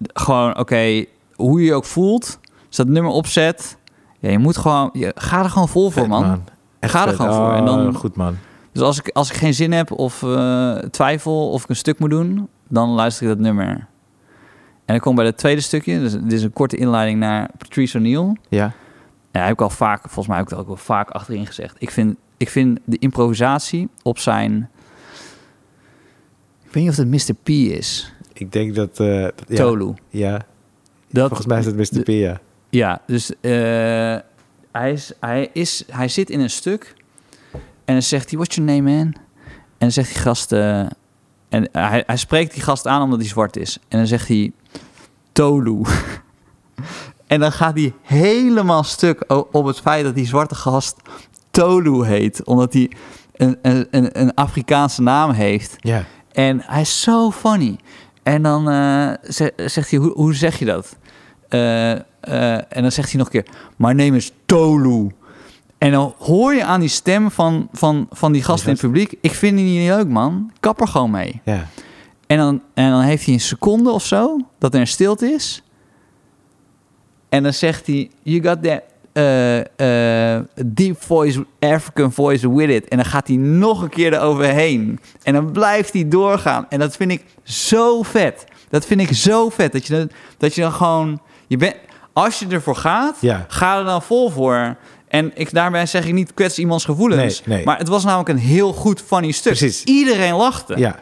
S2: D- Gewoon oké, hoe je je ook voelt, als dat nummer opzet, ja, je moet gewoon, je, ga er gewoon vol voor
S1: Vet,
S2: man.
S1: Echt
S2: Ga er
S1: vet.
S2: gewoon voor. En dan-
S1: Oh, Goed, man.
S2: Dus als ik, als ik geen zin heb of eh, twijfel of ik een stuk moet doen, dan luister ik dat nummer. En dan kom ik bij het tweede stukje. Dus dit is een korte inleiding naar Patrice O'Neill.
S1: Ja.
S2: Ja, heb ik al vaak, volgens mij heb ik dat ook wel vaak achterin gezegd. Ik vind, ik vind de improvisatie op zijn. Ik weet niet of het Mr. P is.
S1: Ik denk dat... eh, dat- ja.
S2: Tolu.
S1: Ja.
S2: Dat-
S1: Volgens mij is dat Mr. P, ja.
S2: Ja, dus eh, hij, is, hij, is, hij zit in een stuk. En dan zegt hij, what's your name, man? En dan zegt die gast... eh, en hij, hij spreekt die gast aan omdat hij zwart is. En dan zegt hij, Tolu. en dan gaat hij helemaal stuk o- op het feit dat die zwarte gast Tolu heet. Omdat hij een, een, een- een Afrikaanse naam heeft.
S1: Ja.
S2: En hij is zo funny. En dan eh, ze- zegt hij, hoe, hoe zeg je dat? Eh, eh, en dan zegt hij nog een keer, my name is Tolu. En dan hoor je aan die stem van, van, van die gast in het publiek... ik vind die niet leuk, man. Kap er gewoon mee.
S1: Ja.
S2: En dan, en dan heeft hij een seconde of zo dat er een stilte is. En dan zegt hij, you got that eh, eh, deep voice, African voice with it. En dan gaat hij nog een keer eroverheen. En dan blijft hij doorgaan. En dat vind ik zo vet. Dat vind ik zo vet. Dat je dan, dat je dan gewoon... Je bent als je ervoor gaat,
S1: Ja.
S2: ga er dan vol voor. En ik, daarbij zeg ik niet kwets iemands gevoelens.
S1: Nee, nee.
S2: Maar het was namelijk een heel goed funny stuk.
S1: Precies.
S2: Iedereen lachte.
S1: Ja.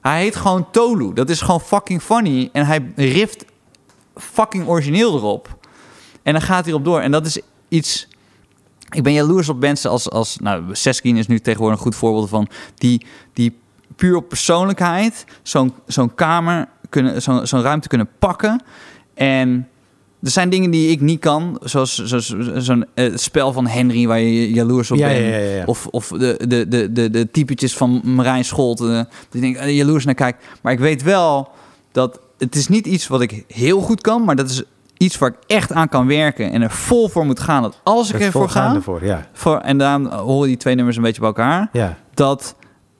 S2: Hij heet gewoon Tolu. Dat is gewoon fucking funny. En hij rift fucking origineel erop. En dan gaat hij erop door. En dat is iets... Ik ben jaloers op mensen als... als nou, Seskin is nu tegenwoordig een goed voorbeeld van... Die, die puur op persoonlijkheid zo'n zo'n kamer, kunnen, zo'n zo'n ruimte kunnen pakken. En er zijn dingen die ik niet kan. Zoals zo'n zo'n, eh, het spel van Henry waar je jaloers op
S1: Ja,
S2: bent.
S1: ja, ja, ja.
S2: Of, of de, de, de, de, de typetjes van Marijn Scholt. eh, dat ik denk, eh, jaloers naar kijk. Maar ik weet wel dat het is niet iets wat ik heel goed kan. Maar dat is iets waar ik echt aan kan werken. En er vol voor moet gaan. Dat als ik
S1: Het
S2: ervoor
S1: volgaande
S2: ga.
S1: voor, ja.
S2: Voor, en daarom horen die twee nummers een beetje bij elkaar
S1: Ja.
S2: dat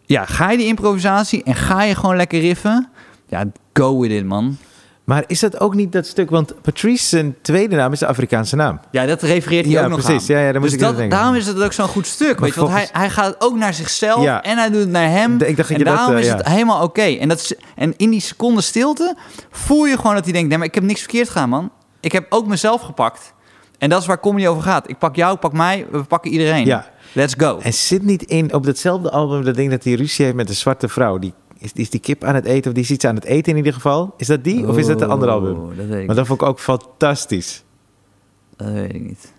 S2: ja, ga je die improvisatie en ga je gewoon lekker riffen? Ja, go with it, man.
S1: Maar is dat ook niet dat stuk? Want Patrice, zijn tweede naam is de Afrikaanse naam.
S2: Ja, dat refereert hij
S1: Ja,
S2: ook nog
S1: precies.
S2: aan.
S1: Ja, ja, daar moest
S2: dus
S1: ik aan
S2: dat,
S1: denken.
S2: daarom is het ook zo'n goed stuk.
S1: Maar
S2: Weet je, want hij,
S1: volgens-
S2: hij gaat ook naar zichzelf
S1: Ja.
S2: en hij doet het naar hem.
S1: Ik dacht dat
S2: Mm. en
S1: je dat,
S2: daarom
S1: eh,
S2: is
S1: ja.
S2: het helemaal oké. En dat is En in die seconde stilte voel je gewoon dat hij denkt... nee, maar ik heb niks verkeerd gedaan, man. ik heb ook mezelf gepakt. En dat is waar comedy over gaat. Ik pak jou, ik pak mij, we pakken iedereen.
S1: Ja.
S2: Let's go.
S1: En zit niet in op datzelfde album dat ding dat hij ruzie heeft met een zwarte vrouw. Die, is, is die kip aan het eten of die is iets aan het eten in ieder geval. Is dat die of is dat een
S2: Oh.
S1: ander album?
S2: Oeh, Dat weet ik,
S1: Maar dat vond ik ook fantastisch.
S2: dat weet ik niet.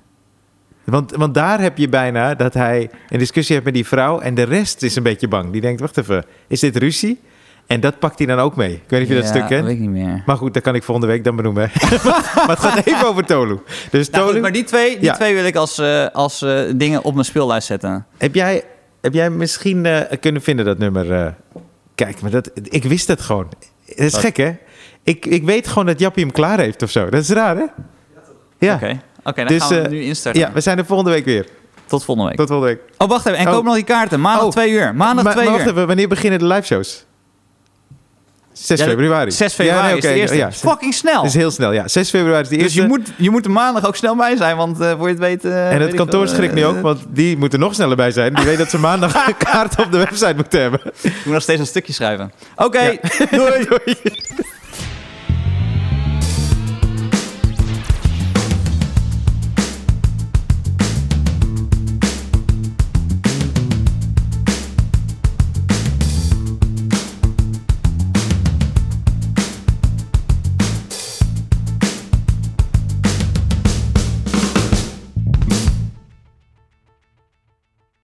S1: Want, want daar heb je bijna dat hij een discussie heeft met die vrouw en de rest is een beetje bang. Die denkt, wacht even, is dit ruzie? En dat pakt hij dan ook mee. Ik weet niet of je dat
S2: Ja,
S1: stuk kent.
S2: weet ik niet meer.
S1: Maar goed, dat kan ik volgende week dan benoemen. maar het gaat even over Tolu. Dus
S2: Nou,
S1: Tolu,
S2: goed, maar die twee, die
S1: Ja.
S2: twee wil ik als, eh, als eh, dingen op mijn speellijst zetten.
S1: heb, jij, heb jij misschien eh, kunnen vinden dat nummer? eh? kijk, maar dat, ik wist het gewoon. Dat is
S2: Wat?
S1: gek, hè? Ik, ik weet gewoon dat Jappie hem klaar heeft of zo. Dat is raar, hè? Ja,
S2: Oké, Oké, dan
S1: Dus,
S2: gaan we
S1: eh,
S2: nu instarten.
S1: ja, we zijn er volgende week weer.
S2: Tot volgende week.
S1: Tot volgende week.
S2: Oh, wacht even. En
S1: Oh.
S2: koop nog die kaarten. Maandag
S1: Oh.
S2: twee uur. Maandag
S1: maar,
S2: twee
S1: maar
S2: uur.
S1: wacht even, wanneer beginnen de live shows? 6
S2: Ja,
S1: februari.
S2: 6 februari
S1: Ja, nee,
S2: is de
S1: oké,
S2: eerste.
S1: ja,
S2: Fucking snel.
S1: dat is heel snel, ja. 6 februari is de
S2: dus
S1: eerste.
S2: je moet, je moet er maandag ook snel bij zijn, want eh, voor je het weet... eh,
S1: en
S2: weet
S1: het
S2: ik
S1: kantoor
S2: veel,
S1: schrikt nu
S2: eh,
S1: ook, want die moeten nog sneller bij zijn. Die weten dat ze maandag een kaart op de website moeten hebben.
S2: Ik moet nog steeds een stukje schrijven. Oké, doei.
S1: Doei.